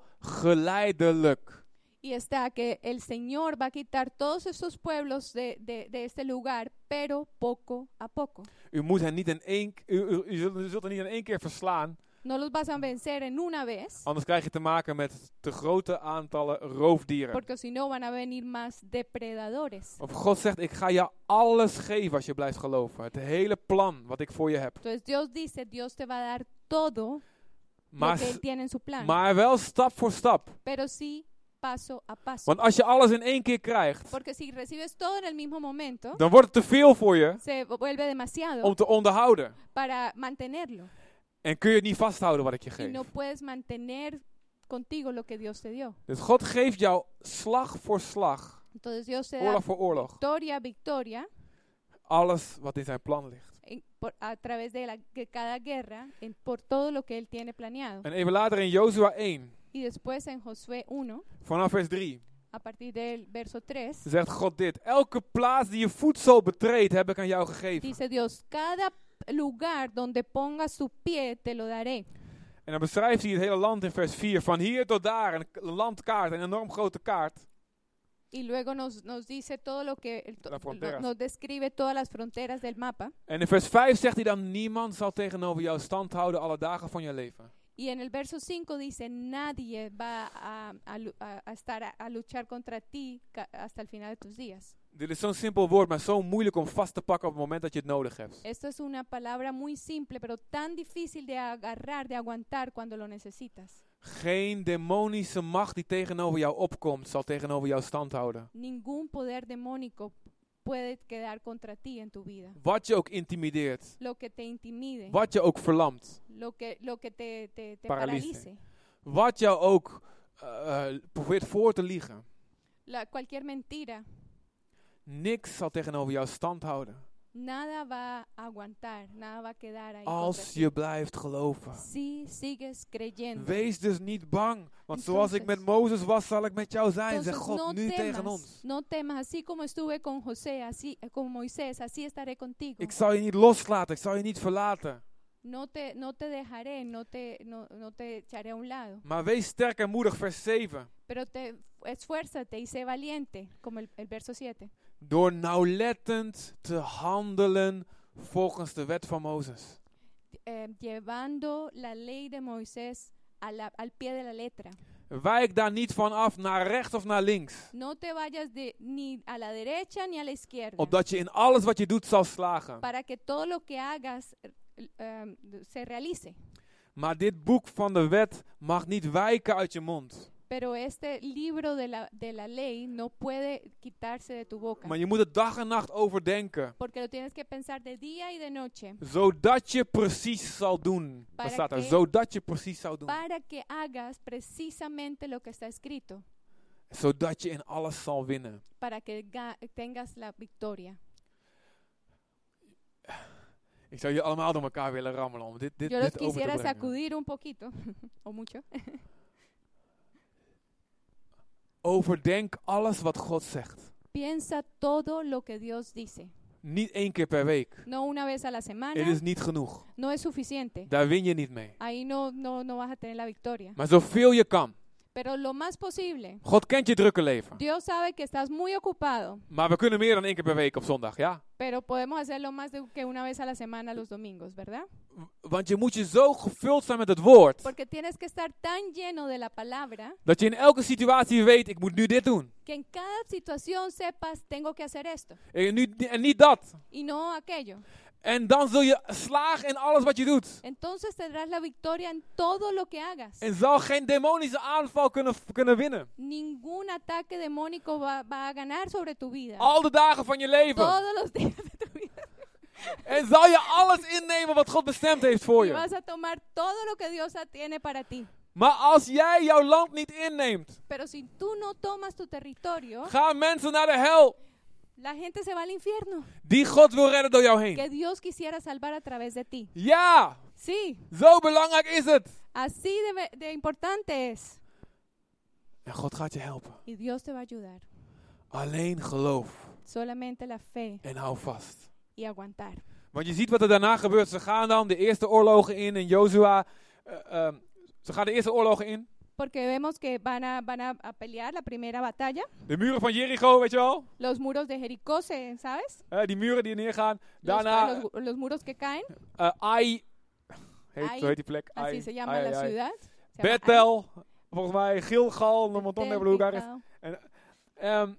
Speaker 2: geleidelijk.
Speaker 1: Y está que el Señor va a quitar todos estos pueblos de, de- de este lugar, pero poco a poco.
Speaker 2: U, moet hen niet in één, k- u, u, u zult, u zult hen niet in één keer verslaan,
Speaker 1: No los vas a vencer en una vez,
Speaker 2: anders krijg je te maken met te grote aantallen roofdieren.
Speaker 1: porque si no van a venir más depredadores.
Speaker 2: Of God zegt, ik ga jou alles geven als je blijft geloven. Het hele plan wat ik voor je heb.
Speaker 1: Entonces Dios dice, Dios te va a dar todo lo
Speaker 2: Maar,
Speaker 1: que Él
Speaker 2: s-
Speaker 1: tiene en su plan,
Speaker 2: maar wel stap voor stap.
Speaker 1: pero sí paso a paso.
Speaker 2: Want als je alles in één keer krijgt,
Speaker 1: Porque si recibes todo en el mismo momento,
Speaker 2: dan wordt het te veel voor je
Speaker 1: se vuelve demasiado
Speaker 2: om te onderhouden.
Speaker 1: para mantenerlo.
Speaker 2: En kun je het niet vasthouden wat ik je
Speaker 1: Y
Speaker 2: geef.
Speaker 1: no puedes mantener contigo lo que Dios te dio.
Speaker 2: Dus God geeft jou slag voor slag,
Speaker 1: Entonces Dios te da
Speaker 2: oorlog voor oorlog,
Speaker 1: victoria, victoria
Speaker 2: alles wat in zijn plan ligt.
Speaker 1: en- por- a través de, la- de cada guerra, en, por todo lo que Él tiene planeado.
Speaker 2: En even later in Jozua 1,
Speaker 1: Y después en Josué 1,
Speaker 2: vanaf vers 3,
Speaker 1: a partir del verso 3,
Speaker 2: zegt God dit. Elke plaats die je voedsel betreedt, heb ik aan jou gegeven.
Speaker 1: dice Dios, cada lugar donde pongas tu pie te lo daré.
Speaker 2: En dan beschrijft hij het hele land in vers 4. Van hier tot daar, een k- een landkaart, een enorm grote kaart.
Speaker 1: Y luego nos, nos dice todo lo que, el to- lo-
Speaker 2: Las fronteras.
Speaker 1: nos describe todas las fronteras del mapa.
Speaker 2: En in vers 5 zegt hij dan, niemand zal tegenover jou stand houden alle dagen van je leven.
Speaker 1: Y en el verso 5 dice, nadie va a, a lu- a- a estar a, a luchar contra ti ca- hasta el final de tus días.
Speaker 2: Dit is zo'n simpel woord, maar zo moeilijk om vast te pakken op het moment dat je het nodig hebt.
Speaker 1: Esto es una palabra muy simple, pero tan difícil de agarrar, de aguantar cuando lo necesitas.
Speaker 2: Geen demonische macht die tegenover jou opkomt, zal tegenover jou stand houden.
Speaker 1: Ningún poder demónico puede quedar contra ti en tu vida.
Speaker 2: Wat je ook intimideert,
Speaker 1: Lo que te intimide,
Speaker 2: wat je ook verlamt,
Speaker 1: lo que, lo que te, te- te
Speaker 2: Paralice.
Speaker 1: paralice,
Speaker 2: wat jou ook eh, eh, probeert voor te liegen.
Speaker 1: La- cualquier mentira,
Speaker 2: Niks zal tegenover jou stand houden.
Speaker 1: Nada va a aguantar, nada va a quedar ahí.
Speaker 2: Als je blijft geloven.
Speaker 1: Si sigues creyendo.
Speaker 2: Wees dus niet bang, want
Speaker 1: Entonces-
Speaker 2: zoals ik met Mozes was, zal ik met jou zijn,
Speaker 1: Entonces,
Speaker 2: zegt
Speaker 1: no
Speaker 2: God nu tegen
Speaker 1: temas,
Speaker 2: ons.
Speaker 1: no temas, así como estuve con José, así eh, con Moisés, así estaré contigo.
Speaker 2: Ik zal je niet loslaten, ik zal je niet verlaten.
Speaker 1: No te, no te dejaré, no te, no, no te echaré a un lado.
Speaker 2: Maar wees sterk en moedig, vers 7.
Speaker 1: Pero te esfuérzate y sé valiente, como el, el verso 7.
Speaker 2: Door nauwlettend te handelen volgens de wet van Mozes.
Speaker 1: eh, llevando la ley de Moisés a la- al pie de la letra.
Speaker 2: Wijk daar niet van af, naar rechts of naar links.
Speaker 1: No te vayas de, ni a la derecha ni a la izquierda.
Speaker 2: Opdat je in alles wat je doet zal slagen.
Speaker 1: Para que todo lo que hagas eh, eh, se realice.
Speaker 2: Maar dit boek van de wet mag niet wijken uit je mond.
Speaker 1: Pero este libro de la, de la ley no puede quitarse de tu boca.
Speaker 2: Maar je moet het dag en nacht overdenken.
Speaker 1: Porque lo tienes que pensar de día y de noche
Speaker 2: Zodat je precies zal doen.
Speaker 1: Para
Speaker 2: Dat staat er.
Speaker 1: que-
Speaker 2: Zodat je precies zal doen.
Speaker 1: para que hagas precisamente lo que está escrito,
Speaker 2: Zodat je in alles zal winnen.
Speaker 1: para que ga- tengas la victoria.
Speaker 2: Ik zou je allemaal door elkaar willen rammelen om dit, dit,
Speaker 1: Yo los
Speaker 2: dit over
Speaker 1: quisiera
Speaker 2: te brengen.
Speaker 1: sacudir un poquito, [laughs] o mucho.
Speaker 2: Overdenk alles wat God zegt.
Speaker 1: Piensa todo lo que Dios dice.
Speaker 2: Niet één keer per week.
Speaker 1: No una vez a la
Speaker 2: Het
Speaker 1: semana,
Speaker 2: is niet genoeg.
Speaker 1: no es suficiente.
Speaker 2: Daar win je niet mee.
Speaker 1: Ahí no, no, no vas a tener la victoria.
Speaker 2: Maar zoveel je kan.
Speaker 1: Pero lo más posible,
Speaker 2: God kent je drukke leven.
Speaker 1: Dios sabe que estás muy ocupado,
Speaker 2: Maar we kunnen meer dan één keer per week op zondag, ja?
Speaker 1: pero podemos hacerlo más de- que una vez a la semana los domingos, ¿verdad?
Speaker 2: W- Want je moet je zo gevuld zijn met het woord.
Speaker 1: Porque tienes que estar tan lleno de la palabra
Speaker 2: Dat je in elke situatie weet, ik moet nu dit doen.
Speaker 1: que en cada situación sepas, tengo que hacer esto
Speaker 2: En, nu, en niet dat.
Speaker 1: y no aquello.
Speaker 2: En dan zul je slagen in alles wat je doet.
Speaker 1: Entonces tendrás la victoria en todo lo que hagas.
Speaker 2: En zal geen demonische aanval kunnen, kunnen winnen.
Speaker 1: Ningún ataque demónico va, va a ganar sobre tu vida.
Speaker 2: Al de dagen van je leven.
Speaker 1: Todos los días de tu vida.
Speaker 2: En zal je alles innemen wat God bestemd heeft voor
Speaker 1: Y
Speaker 2: je.
Speaker 1: vas a tomar todo lo que Dios tiene para ti.
Speaker 2: Maar als jij jouw land niet inneemt,
Speaker 1: Pero si tú no tomas tu territorio,
Speaker 2: gaan mensen naar de hel.
Speaker 1: la gente se va al infierno.
Speaker 2: Die God wil redden door jou heen.
Speaker 1: Que Dios quisiera salvar a través de ti.
Speaker 2: Ja,
Speaker 1: Sí,
Speaker 2: zo belangrijk is het.
Speaker 1: así de, de importante es.
Speaker 2: En God gaat je helpen.
Speaker 1: Y Dios te va a ayudar.
Speaker 2: Alleen geloof
Speaker 1: Solamente la fe
Speaker 2: en hou vast.
Speaker 1: y aguantar.
Speaker 2: Want je ziet wat er daarna gebeurt. Ze gaan dan de eerste oorlogen in en Jozua. eh, ehm, ze gaan de eerste oorlogen in.
Speaker 1: Porque vemos que van a, van a, a pelear la primera batalla.
Speaker 2: De muren van Jericho, weet je wel?
Speaker 1: Los muros de Jericó, se- ¿sabes?
Speaker 2: Eh, die muren die neergaan.
Speaker 1: Los,
Speaker 2: Daarna
Speaker 1: los- los muros que caen.
Speaker 2: eh, Ai. Heet,
Speaker 1: Ai.
Speaker 2: zo heet die plek. Ai.
Speaker 1: Así se llama
Speaker 2: Ai,
Speaker 1: la
Speaker 2: ai, ai.
Speaker 1: ciudad. Se llama
Speaker 2: Bethel. Volgens mij Gilgal.
Speaker 1: Ai-
Speaker 2: Nog wat
Speaker 1: Betel,
Speaker 2: hebben elkaar is.
Speaker 1: Gilgal.
Speaker 2: Ehm,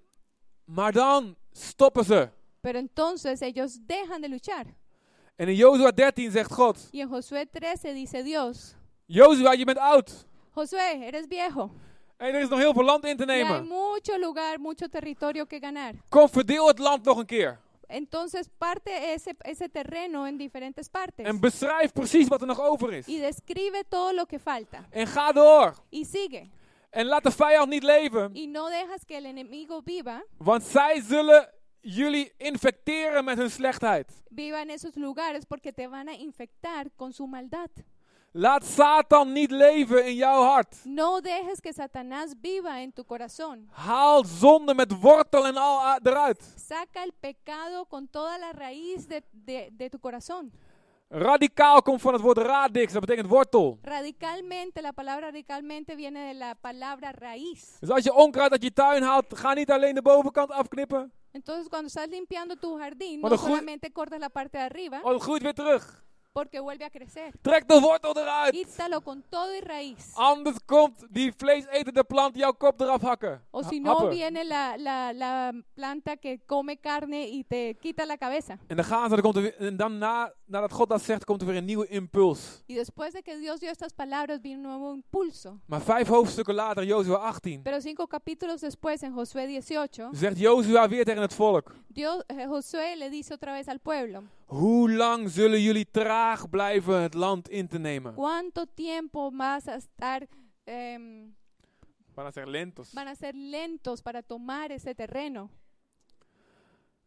Speaker 2: maar dan stoppen ze.
Speaker 1: Pero entonces ellos dejan de luchar.
Speaker 2: En in Jozua 13 zegt God.
Speaker 1: Y en Josué 13 dice Dios,
Speaker 2: Jozua, je bent oud.
Speaker 1: Josué, eres viejo.
Speaker 2: En er is nog heel veel land in te
Speaker 1: Y hay
Speaker 2: nemen.
Speaker 1: mucho lugar, mucho territorio que ganar.
Speaker 2: Kom, verdeel het land nog een keer.
Speaker 1: Entonces parte ese, ese terreno en diferentes partes.
Speaker 2: En beschrijf precies wat er nog over is.
Speaker 1: Y describe todo lo que falta.
Speaker 2: En ga door.
Speaker 1: Y sigue.
Speaker 2: En laat de vijand niet leven.
Speaker 1: Y no dejas que el enemigo viva,
Speaker 2: Want zij zullen jullie infecteren met hun slechtheid.
Speaker 1: viva en esos lugares porque te van a infectar con su maldad.
Speaker 2: Laat Satan niet leven in jouw hart.
Speaker 1: No dejes que Satanás viva en tu corazón.
Speaker 2: Haal zonde met wortel en al a- eruit.
Speaker 1: Saca el pecado con toda la raíz de, de- de tu corazón.
Speaker 2: Radicaal komt van het woord radix, dat betekent wortel.
Speaker 1: Radicalmente, la palabra radicalmente viene de la palabra raíz.
Speaker 2: Dus als je onkruid uit je tuin haalt, ga niet alleen de bovenkant afknippen.
Speaker 1: Entonces, cuando estás limpiando tu jardín,
Speaker 2: Cuando
Speaker 1: no
Speaker 2: ju-
Speaker 1: solamente cortas la parte de arriba,
Speaker 2: Oh, het groeit weer terug.
Speaker 1: porque vuelve a crecer.
Speaker 2: Trek de wortel eruit.
Speaker 1: Quítalo con todo y raíz.
Speaker 2: Anders komt die vleesetende plant jouw kop eraf hakken.
Speaker 1: O si
Speaker 2: Ha-
Speaker 1: no,
Speaker 2: happen.
Speaker 1: viene la, la- la planta que come carne y te quita la cabeza.
Speaker 2: En dan gaan ze, dan komt er weer, en dan na, nadat God dat zegt, komt er weer een nieuwe impuls.
Speaker 1: Y después de que Dios dio estas palabras, vino un nuevo impulso.
Speaker 2: Maar vijf hoofdstukken later, Jozua 18,
Speaker 1: Pero cinco capítulos después, en Josué 18,
Speaker 2: zegt Jozua weer tegen het volk.
Speaker 1: Dios, eh, Josué le dice otra vez al pueblo,
Speaker 2: Hoe lang zullen jullie traag blijven het land in te nemen?
Speaker 1: ¿cuánto tiempo vas a estar, em,
Speaker 2: Van a ser lentos.
Speaker 1: van a ser lentos para tomar ese terreno?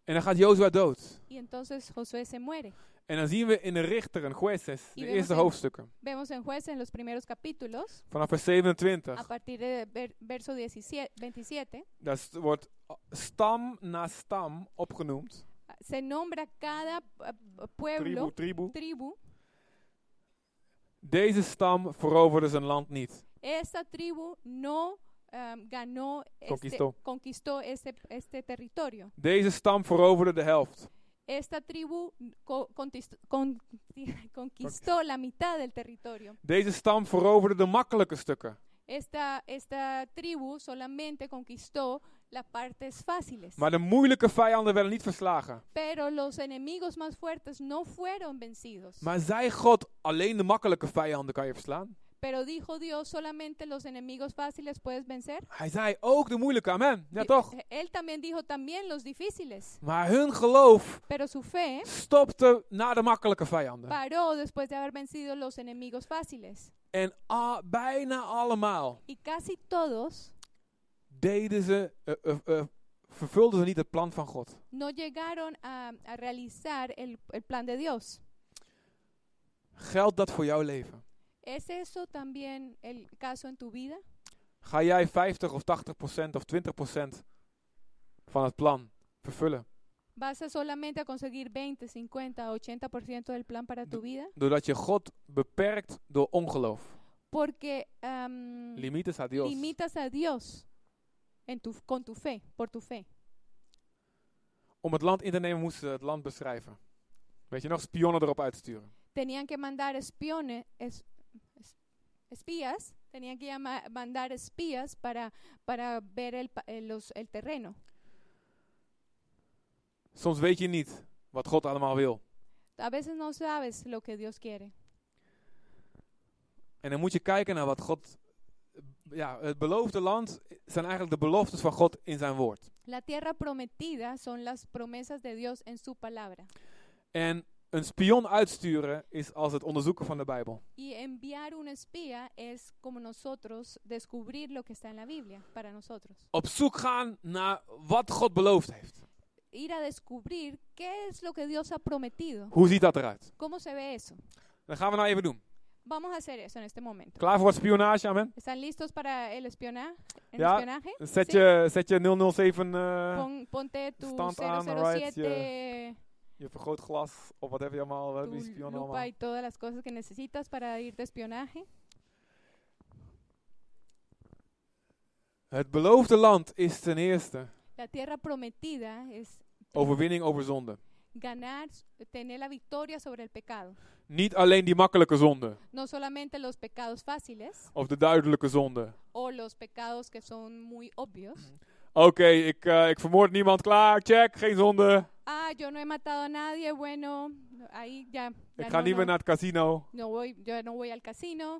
Speaker 2: En dan gaat Jozua dood.
Speaker 1: Y entonces Josué se muere.
Speaker 2: En dan zien we in de Richter en Jueces, de
Speaker 1: Iedereen
Speaker 2: eerste
Speaker 1: meteen.
Speaker 2: hoofdstukken,
Speaker 1: Vemos en jueces en los primeros capítulos,
Speaker 2: vanaf vers
Speaker 1: a
Speaker 2: 27.
Speaker 1: partir de ver- verso 17, 27,
Speaker 2: Daar st- wordt eh, stam na stam opgenoemd.
Speaker 1: se nombra cada eh, pueblo,
Speaker 2: Tribu, tribu.
Speaker 1: tribu.
Speaker 2: Deze stam veroverde zijn land niet.
Speaker 1: Esta tribu no um, ganó, este-
Speaker 2: Conquistó.
Speaker 1: conquistó este, este territorio.
Speaker 2: Deze stam veroverde de helft.
Speaker 1: Esta tribu co- contist- con- [laughs] conquistó la mitad del territorio.
Speaker 2: Deze stam veroverde de makkelijke stukken.
Speaker 1: Esta, esta tribu solamente conquistó las partes fáciles.
Speaker 2: Maar de moeilijke vijanden werden niet verslagen.
Speaker 1: Pero los enemigos más fuertes no fueron vencidos.
Speaker 2: Maar zei God, alleen de makkelijke vijanden kan je verslaan?
Speaker 1: Pero dijo Dios, solamente los enemigos fáciles puedes vencer.
Speaker 2: Hij zei ook de moeilijke, amen. Ja
Speaker 1: Di-
Speaker 2: toch?
Speaker 1: eh, Él también dijo también los difíciles.
Speaker 2: Maar hun geloof
Speaker 1: Pero su fe
Speaker 2: Ah. stopte na de makkelijke vijanden.
Speaker 1: paró después de haber vencido los enemigos fáciles.
Speaker 2: En a- bijna allemaal
Speaker 1: Y casi todos
Speaker 2: deden ze, eh, eh, eh, vervulden ze niet het plan van God.
Speaker 1: no llegaron a, a realizar el, el plan de Dios.
Speaker 2: Geldt dat voor jouw leven?
Speaker 1: ¿Es eso también el caso en tu vida?
Speaker 2: Ga jij 50 of 80 procent of 20 procent van het plan vervullen?
Speaker 1: ¿Vas a solamente a conseguir 20, 50, 80% del plan para tu vida?
Speaker 2: Doordat je God beperkt door ongeloof.
Speaker 1: Porque am,
Speaker 2: Limites a Dios.
Speaker 1: limitas a Dios en tu, con tu fe, por tu fe.
Speaker 2: Om het land in te nemen moesten ze het land beschrijven. Weet je nog, spionnen erop uitsturen.
Speaker 1: Tenían que mandar espiones, es- es- espías, tenían que llama- mandar espías para, para ver el, pa- eh, los- el terreno.
Speaker 2: Soms weet je niet wat God allemaal wil.
Speaker 1: A veces no sabes lo que Dios quiere.
Speaker 2: En dan moet je kijken naar wat God... Ja, het beloofde land zijn eigenlijk de beloftes van God in zijn woord.
Speaker 1: La tierra prometida son las promesas de Dios en su palabra.
Speaker 2: En een spion uitsturen is als het onderzoeken van de Bijbel.
Speaker 1: Y enviar un espía es como nosotros descubrir lo que está en la Biblia para nosotros.
Speaker 2: Op zoek gaan naar wat God beloofd heeft.
Speaker 1: Ir a descubrir qué es lo que Dios ha prometido.
Speaker 2: Hoe ziet dat eruit?
Speaker 1: ¿Cómo se ve eso?
Speaker 2: Dat gaan we nou even doen.
Speaker 1: Vamos a hacer eso en este momento.
Speaker 2: Klaar voor wat spionage, amen?
Speaker 1: ¿Están listos para el espionaje? ¿El
Speaker 2: Ya.
Speaker 1: espionaje?
Speaker 2: Zet
Speaker 1: Sí.
Speaker 2: je, zet je 007, eh
Speaker 1: Pon- ponte tu
Speaker 2: stand on, right,
Speaker 1: 007,
Speaker 2: je vergrootglas of wat heb je allemaal, wat hebben die
Speaker 1: tu
Speaker 2: spionnen
Speaker 1: lupa
Speaker 2: allemaal.
Speaker 1: y todas las cosas que necesitas para ir de espionaje.
Speaker 2: Het beloofde land is ten eerste
Speaker 1: La tierra prometida es
Speaker 2: overwinning over zonde.
Speaker 1: ganar, s- tener la victoria sobre el pecado.
Speaker 2: Niet alleen die makkelijke zonde
Speaker 1: No solamente los pecados fáciles
Speaker 2: of de duidelijke zonde.
Speaker 1: o los pecados que son muy obvios.
Speaker 2: Oké, ik, eh, ik vermoord niemand, klaar, check, geen zonde.
Speaker 1: Ah, yo no he matado a nadie, bueno, ahí ya. ya
Speaker 2: Ik ga
Speaker 1: no,
Speaker 2: niet
Speaker 1: no,
Speaker 2: meer naar het casino.
Speaker 1: no voy, yo no voy al casino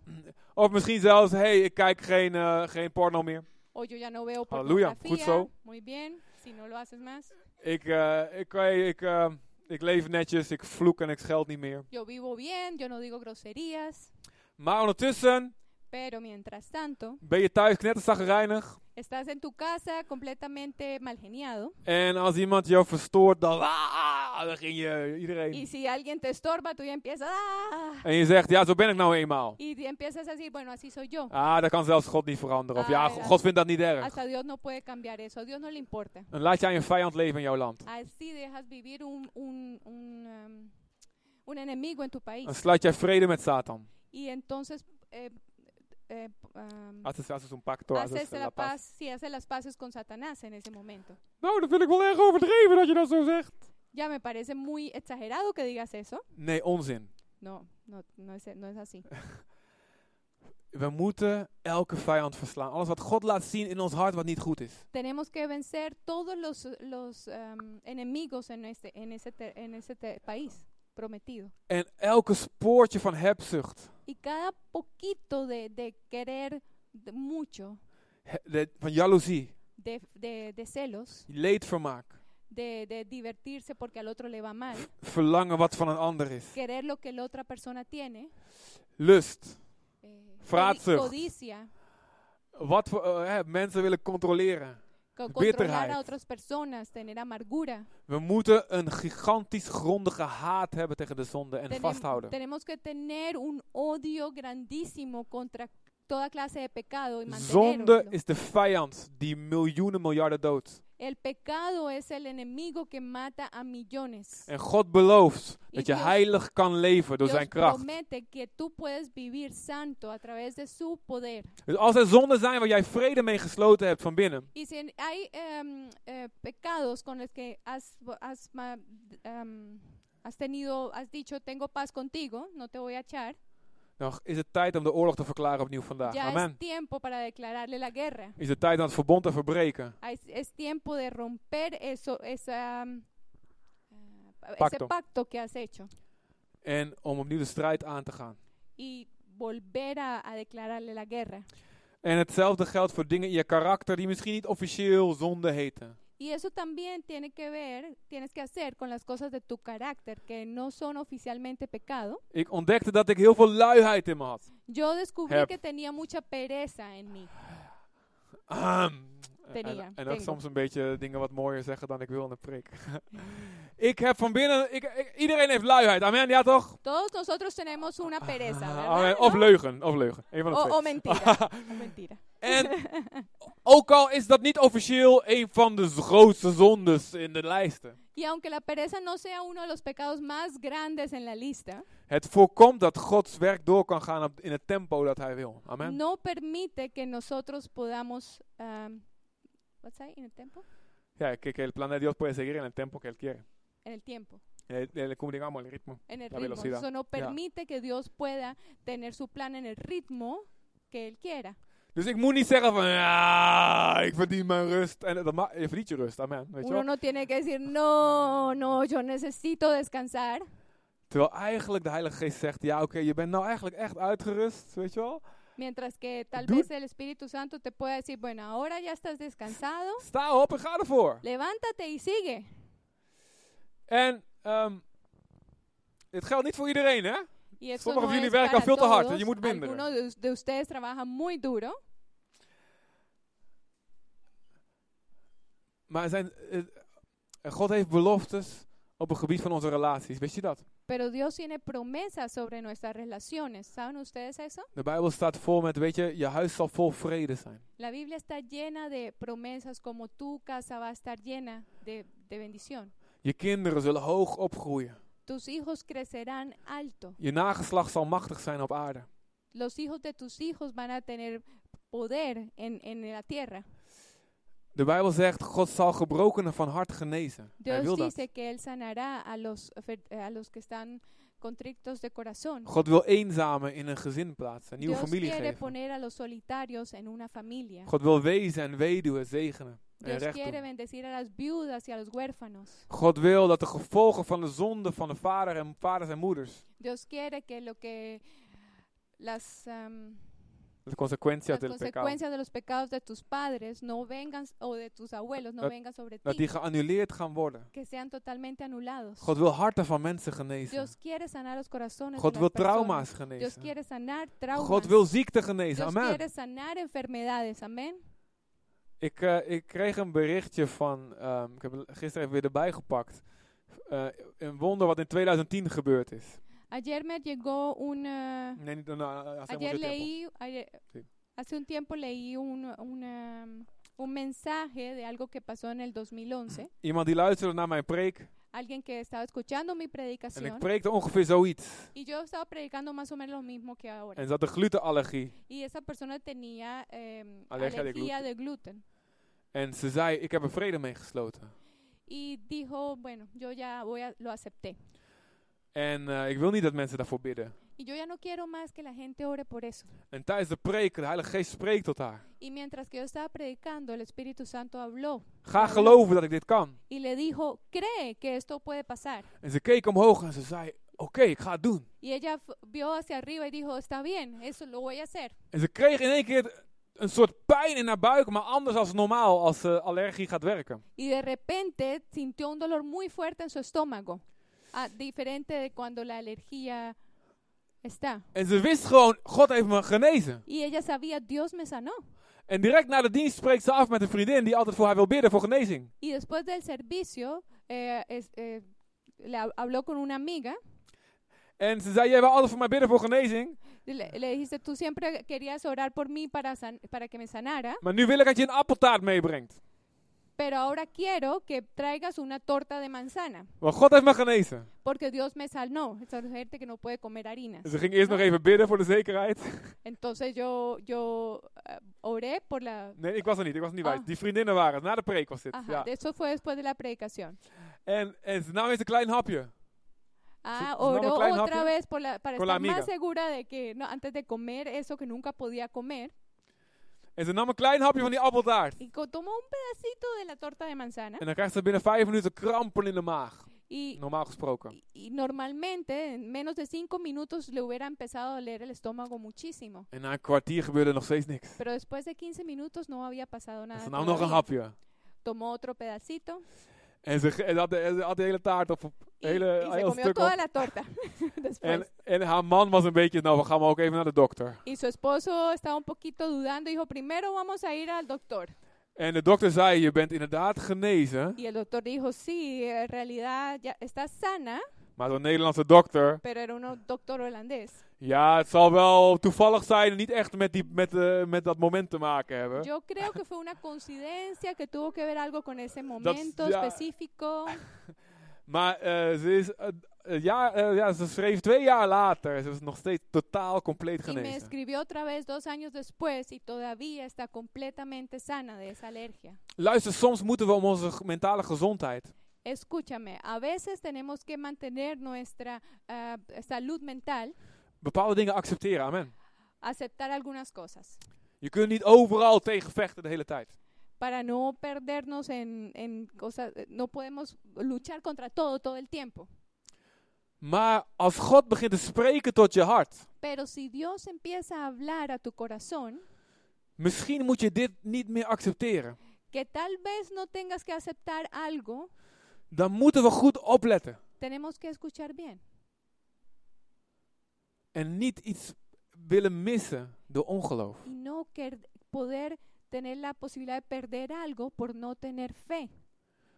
Speaker 2: Of misschien zelfs, hé, hey, ik kijk geen, eh, geen porno meer.
Speaker 1: o yo ya no
Speaker 2: [clears throat]
Speaker 1: veo
Speaker 2: Aleluya,
Speaker 1: pornografía.
Speaker 2: goed zo.
Speaker 1: Muy bien, si no lo haces más.
Speaker 2: Ik, eh, ik, eh, ik, eh, ik leef netjes, ik vloek en ik scheld niet meer.
Speaker 1: Yo vivo bien, yo no digo groserías,
Speaker 2: Maar ondertussen
Speaker 1: pero mientras tanto,
Speaker 2: ben je thuis knetterzagrijnig.
Speaker 1: estás en tu casa completamente mal geniado
Speaker 2: En als iemand jou verstoort, dan, ah, dan ging je iedereen.
Speaker 1: y si alguien te estorba, tú ya empiezas, "Ah",
Speaker 2: En je zegt, ja, zo ben ik nou eenmaal.
Speaker 1: y di- empiezas así, bueno, así soy yo.
Speaker 2: Ah, dat kan zelfs God niet veranderen. Of ja,
Speaker 1: Ah,
Speaker 2: go-
Speaker 1: ja.
Speaker 2: God vindt dat niet erg.
Speaker 1: Hasta Dios no puede cambiar eso, a Dios no le importa.
Speaker 2: Dan laat jij een vijand leven in jouw land.
Speaker 1: Así dejas vivir un, un, un, em, un enemigo en tu país.
Speaker 2: Dan sluit jij vrede met Satan.
Speaker 1: Y entonces eh, eh, em,
Speaker 2: Haces haces un pacto, haces
Speaker 1: haces
Speaker 2: la
Speaker 1: la
Speaker 2: paz.
Speaker 1: paz, si haces las paces con Satanás en ese momento.
Speaker 2: Nou, dat vind ik wel erg overdreven dat je dat zo zegt.
Speaker 1: Ya me parece muy exagerado que digas eso.
Speaker 2: Nee, onzin.
Speaker 1: No, no, no es, no es así.
Speaker 2: We moeten elke vijand verslaan. Alles wat God laat zien in ons hart wat niet goed is.
Speaker 1: Tenemos que vencer todos los, los em, enemigos en, este, en ese, ter- en ese te- país prometido.
Speaker 2: En elke spoortje van hebzucht.
Speaker 1: Y cada poquito de, de querer de- mucho,
Speaker 2: he- de- van jaloezie.
Speaker 1: de, de, de celos,
Speaker 2: Leedvermaak.
Speaker 1: de, de divertirse porque al otro le va mal,
Speaker 2: Verlangen wat van een ander is.
Speaker 1: querer lo que la otra persona tiene,
Speaker 2: Lust.
Speaker 1: eh,
Speaker 2: Vraatzucht.
Speaker 1: codi- codicia,
Speaker 2: Wat voor, eh, hè, mensen willen controleren.
Speaker 1: co- controlar
Speaker 2: Bitterheid.
Speaker 1: a otras personas, tener amargura.
Speaker 2: We moeten een gigantisch grondige haat hebben tegen de zonde en
Speaker 1: Tenem-
Speaker 2: vasthouden.
Speaker 1: tenemos que tener un odio grandísimo contra toda clase de pecado y
Speaker 2: Zonde
Speaker 1: mantenerlo.
Speaker 2: is de vijand die miljoenen miljarden doodt.
Speaker 1: El pecado es el enemigo que mata a millones.
Speaker 2: En God belooft dat
Speaker 1: Ik
Speaker 2: je
Speaker 1: wil-
Speaker 2: heilig kan leven door
Speaker 1: Dios
Speaker 2: zijn kracht.
Speaker 1: promete que tú puedes vivir santo a través de su poder.
Speaker 2: Dus als er zonden zijn waar jij vrede mee gesloten hebt van binnen,
Speaker 1: Y si en- hay em, eh, pecados con los que has, has ma- em, has tenido, has dicho, tengo paz contigo, no te voy a echar,
Speaker 2: dan is het tijd om de oorlog te verklaren opnieuw vandaag.
Speaker 1: ya
Speaker 2: Amen.
Speaker 1: es tiempo para declararle la guerra.
Speaker 2: Is het tijd om het verbond te verbreken.
Speaker 1: Ah, Es, es tiempo de romper eso, esa, em, ah,
Speaker 2: Pacto.
Speaker 1: ese pacto que has hecho
Speaker 2: En om opnieuw de strijd aan te gaan.
Speaker 1: y volver a, a declararle la guerra.
Speaker 2: En hetzelfde geldt voor dingen in je karakter die misschien niet officieel zonde heten.
Speaker 1: Y eso también tiene que ver, tienes que hacer con las cosas de tu carácter que no son oficialmente pecado.
Speaker 2: Ik ontdekte dat ik heel veel luiheid in me had.
Speaker 1: Yo descubrí
Speaker 2: Heb.
Speaker 1: que tenía mucha pereza en mí.
Speaker 2: Ahem.
Speaker 1: Tenía,
Speaker 2: en, en ook
Speaker 1: tengo.
Speaker 2: soms een beetje dingen wat mooier zeggen dan ik wil in de prik. ik heb van binnen... Ik, ik- iedereen heeft luiheid. Amen, ja toch?
Speaker 1: Todos nosotros tenemos una pereza,
Speaker 2: Ah,
Speaker 1: ¿verdad?
Speaker 2: amen. Of
Speaker 1: ¿No?
Speaker 2: leugen, of leugen. Eén van de
Speaker 1: O,
Speaker 2: twee.
Speaker 1: o
Speaker 2: [laughs]
Speaker 1: mentira. o mentira.
Speaker 2: En ook al is dat niet officieel een van de z- grootste zondes in de lijsten.
Speaker 1: Y aunque la pereza no sea uno de los pecados más grandes en la lista,
Speaker 2: Het voorkomt dat Gods werk door kan gaan op- in het tempo dat hij wil. Amen.
Speaker 1: no permite que nosotros podamos... um, what's that? ¿En el tiempo?
Speaker 2: Ja, que, que el plan de Dios puede seguir en el tempo que él quiere.
Speaker 1: En el tiempo,
Speaker 2: Le, le, le comunicamos el ritmo.
Speaker 1: en el
Speaker 2: La
Speaker 1: ritmo.
Speaker 2: velocidad.
Speaker 1: Eso no permite que Dios pueda tener su plan en el ritmo que Él quiera.
Speaker 2: Dus ik moet niet zeggen van, ja, ik verdien mijn rust. En dat ma- je verdient je rust, amen. Weet je
Speaker 1: Uno
Speaker 2: wel?
Speaker 1: no tiene que decir, no, no, yo necesito descansar.
Speaker 2: Terwijl eigenlijk de Heilige Geest zegt, ja oké, je bent nou eigenlijk echt uitgerust, weet je wel.
Speaker 1: Mientras que tal
Speaker 2: Dude.
Speaker 1: vez el Espíritu Santo te pueda decir, bueno, ahora ya estás descansado,
Speaker 2: Sta op en ga ervoor.
Speaker 1: levántate y sigue.
Speaker 2: En ehm, het geldt niet voor iedereen, hè.
Speaker 1: Y eso
Speaker 2: Sommigen
Speaker 1: no
Speaker 2: van jullie
Speaker 1: es
Speaker 2: werken
Speaker 1: para
Speaker 2: veel te hard,
Speaker 1: todos.
Speaker 2: je moet minderen.
Speaker 1: Algunos de, us- de ustedes trabajan muy duro,
Speaker 2: Maar er zijn, eh, God heeft beloftes op het gebied van onze relaties, weet je dat?
Speaker 1: pero Dios tiene promesas sobre nuestras relaciones. ¿Saben ustedes eso?
Speaker 2: De Bijbel staat vol met, weet je, je huis zal vol vrede zijn.
Speaker 1: La Biblia está llena de promesas, como tu casa va a estar llena de, de bendición.
Speaker 2: Je kinderen zullen hoog opgroeien.
Speaker 1: Tus hijos crecerán alto.
Speaker 2: Je nageslacht zal machtig zijn op aarde.
Speaker 1: Los hijos de tus hijos van a tener poder en, en la tierra.
Speaker 2: De Bijbel zegt, God zal gebrokenen van hart genezen. Hij wil
Speaker 1: Dios
Speaker 2: dat.
Speaker 1: dice que Él sanará a los, fer- eh, a los que están contrictos de corazón.
Speaker 2: God wil eenzamen in een gezin plaatsen, een nieuwe
Speaker 1: Dios
Speaker 2: familie
Speaker 1: quiere
Speaker 2: geven.
Speaker 1: poner a los solitarios en una familia.
Speaker 2: God wil wezen en weduwen zegenen en
Speaker 1: Dios
Speaker 2: recht
Speaker 1: quiere
Speaker 2: doen.
Speaker 1: bendecir a las viudas y a los huérfanos.
Speaker 2: God wil dat de gevolgen van de zonde van de vader en vaders en moeders,
Speaker 1: Dios quiere que lo que las, am,
Speaker 2: de consequentie
Speaker 1: las
Speaker 2: del pecado,
Speaker 1: consecuencias de los pecados de tus padres no vengan s- o de tus abuelos no
Speaker 2: Dat-
Speaker 1: vengan sobre
Speaker 2: dat die
Speaker 1: ti,
Speaker 2: geannuleerd gaan worden.
Speaker 1: que sean totalmente anulados.
Speaker 2: God wil harten van mensen genezen.
Speaker 1: Dios quiere sanar los corazones. de
Speaker 2: God
Speaker 1: las
Speaker 2: wil
Speaker 1: personas.
Speaker 2: trauma's
Speaker 1: Dios
Speaker 2: genezen.
Speaker 1: quiere sanar traumas.
Speaker 2: God wil ziekte
Speaker 1: Dios
Speaker 2: genezen. Amen.
Speaker 1: quiere sanar enfermedades. Amén.
Speaker 2: Ik, eh, ik kreeg een berichtje van, ehm, ik heb het gisteren even weer erbij gepakt. Eh, een wonder wat in 2010 gebeurd is.
Speaker 1: Ayer me llegó un eh,
Speaker 2: Nee, niet, nou, eh, als hij
Speaker 1: Ayer
Speaker 2: moet zitten,
Speaker 1: leí, ayer-
Speaker 2: Sí.
Speaker 1: hace un tiempo leí un, una, un mensaje de algo que pasó en el 2011.
Speaker 2: Iemand die luisterde naar mijn preek.
Speaker 1: Alguien que estaba escuchando mi
Speaker 2: En ik
Speaker 1: predicación
Speaker 2: preekte ongeveer zoiets.
Speaker 1: y yo estaba predicando más o menos lo mismo que ahora.
Speaker 2: En ze had een glutenallergie.
Speaker 1: Y esa persona tenía eh,
Speaker 2: Alergia de
Speaker 1: alergia de gluten.
Speaker 2: En ze zei, ik heb er vrede mee gesloten.
Speaker 1: Y dijo, bueno, yo ya voy a, lo acepté.
Speaker 2: En eh, ik wil niet dat mensen daarvoor bidden.
Speaker 1: Y yo ya no quiero más que la gente ore por eso.
Speaker 2: En tijdens de preek, de Heilige Geest spreekt tot haar.
Speaker 1: Y mientras que yo estaba predicando, el Espíritu Santo habló
Speaker 2: Ga geloven dat ik dit kan.
Speaker 1: y le dijo, cree que esto puede pasar.
Speaker 2: En ze keek omhoog en ze zei, oké, ik ga het doen.
Speaker 1: Y ella f- vio hacia arriba y dijo, está bien, eso lo voy a hacer.
Speaker 2: En ze kreeg in één keer een soort pijn in haar buik, maar anders als normaal als de allergie gaat werken.
Speaker 1: Y de repente sintió un dolor muy fuerte en su estómago, ah, diferente de cuando la alergia está.
Speaker 2: En ze wist gewoon, God heeft me genezen.
Speaker 1: Y ella sabía, Dios me sanó.
Speaker 2: En direct na de dienst spreekt ze af met een vriendin die altijd voor haar wil bidden voor genezing.
Speaker 1: Y después del servicio, eh, es- eh, le hab- habló con una amiga.
Speaker 2: En ze zei, jij wil altijd voor mij bidden voor genezing.
Speaker 1: y Le, le dijiste, tú siempre querías orar por mí para, san- para que me sanara,
Speaker 2: Maar nu wil ik dat je een appeltaart meebrengt.
Speaker 1: pero ahora quiero que traigas una torta de manzana,
Speaker 2: Want God heeft me genezen.
Speaker 1: porque Dios me sanó. Esa gente que no puede comer harinas.
Speaker 2: Dus ze ging eerst nog even bidden voor de zekerheid.
Speaker 1: Entonces yo, yo eh, oré por la...
Speaker 2: Nee, ik was er niet. Ik was er niet bij.
Speaker 1: Ah.
Speaker 2: Die vriendinnen waren het. Na de preek was dit.
Speaker 1: Ajá,
Speaker 2: Ja.
Speaker 1: eso fue después de la predicación.
Speaker 2: En, en ze nam eens een klein hapje.
Speaker 1: Ah,
Speaker 2: Su- su
Speaker 1: oró
Speaker 2: nuevo klein
Speaker 1: otra
Speaker 2: hapje
Speaker 1: vez por la, para
Speaker 2: con la
Speaker 1: estar más
Speaker 2: amiga.
Speaker 1: segura de que no, antes de comer eso que nunca podía comer.
Speaker 2: En ze nam een klein hapje van die appeltaart.
Speaker 1: Y co- tomó un pedacito de la torta de manzana.
Speaker 2: En dan krijgt ze binnen vijf minuten krampen in de maag.
Speaker 1: Y,
Speaker 2: Normaal gesproken.
Speaker 1: y- y normalmente en menos de cinco minutos le hubiera empezado a doler el estómago muchísimo.
Speaker 2: En na een kwartier gebeurde nog steeds niks.
Speaker 1: Pero después de 15 minutos no había pasado
Speaker 2: En
Speaker 1: nada.
Speaker 2: ze nam nog een
Speaker 1: todavía.
Speaker 2: hapje.
Speaker 1: Tomó otro pedacito
Speaker 2: En ze, ge- en had, de, en ze had de hele taart op. op-
Speaker 1: y,
Speaker 2: hele,
Speaker 1: y se
Speaker 2: heel
Speaker 1: comió
Speaker 2: stuk
Speaker 1: toda
Speaker 2: op.
Speaker 1: la torta [laughs] después.
Speaker 2: En, en haar man was een beetje, nou we gaan maar ook even naar de dokter.
Speaker 1: Y su esposo estaba un poquito dudando, dijo, primero vamos a ir al doctor.
Speaker 2: En de dokter zei, je bent inderdaad genezen.
Speaker 1: Y el doctor dijo, sí, en realidad ya está sana,
Speaker 2: Maar zo'n Nederlandse dokter,
Speaker 1: pero era un doctor holandés.
Speaker 2: ja het zal wel toevallig zijn. en Niet echt met, die, met, eh, met dat moment te maken hebben.
Speaker 1: Yo creo que fue una coincidencia que tuvo que ver algo con ese momento
Speaker 2: ya- Ah,
Speaker 1: específico.
Speaker 2: Maar eh, ze is... eh, eh, ja, eh, ja, ze schreef twee jaar later. Ze is nog steeds totaal compleet
Speaker 1: Y me
Speaker 2: genezen.
Speaker 1: escribió otra vez dos años después y todavía está completamente sana de esa alergia.
Speaker 2: Luister, soms moeten we om onze ge- mentale gezondheid.
Speaker 1: Escúchame, a veces tenemos que mantener nuestra ah, salud mental,
Speaker 2: Bepaalde dingen accepteren, amen.
Speaker 1: aceptar algunas cosas,
Speaker 2: Je kunt niet overal tegen vechten de hele tijd.
Speaker 1: para no perdernos en, en cosas, eh, no podemos luchar contra todo todo el tiempo.
Speaker 2: Maar als God begint te spreken tot je hart.
Speaker 1: Pero si Dios empieza a hablar a tu corazón,
Speaker 2: Misschien moet je dit niet meer accepteren.
Speaker 1: que tal vez no tengas que aceptar algo,
Speaker 2: Dan moeten we goed opletten.
Speaker 1: tenemos que escuchar bien
Speaker 2: En niet iets willen missen door ongeloof.
Speaker 1: y no quer- poder tener la posibilidad de perder algo por no tener fe.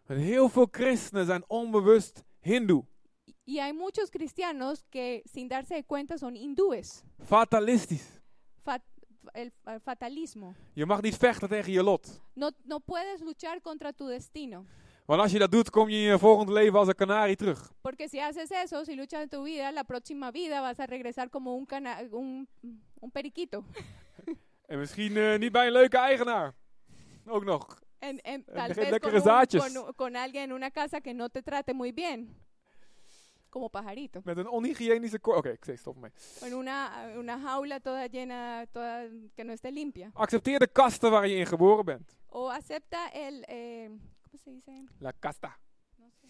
Speaker 2: Want heel veel christenen zijn onbewust hindoe.
Speaker 1: Y- Y hay muchos cristianos que sin darse de cuenta son hindúes,
Speaker 2: Fatalistisch.
Speaker 1: Fa- el el fatalismo.
Speaker 2: Je mag niet vechten tegen je lot.
Speaker 1: No, no puedes luchar contra tu destino,
Speaker 2: Want als je dat doet, kom je in je volgende leven als een kanarie terug.
Speaker 1: porque si haces eso, si luchas en tu vida, la próxima vida vas a regresar como un, cana- un, un periquito.
Speaker 2: En misschien eh, niet bij een leuke eigenaar. Ook nog.
Speaker 1: En,
Speaker 2: [laughs]
Speaker 1: en
Speaker 2: Eh,
Speaker 1: tal
Speaker 2: deje-
Speaker 1: vez
Speaker 2: deje
Speaker 1: con,
Speaker 2: que
Speaker 1: un-
Speaker 2: saches.
Speaker 1: con u- con alguien en una casa que no te trate muy bien. Como pajarito.
Speaker 2: Met een onhygiënische kor. Oké, ik zeg stop mee.
Speaker 1: En una, una jaula toda llena, toda que no esté limpia.
Speaker 2: Accepteer de kasten waar je in geboren bent.
Speaker 1: O acepta el... eh, ¿Cómo se dice?
Speaker 2: La casta.
Speaker 1: No sé.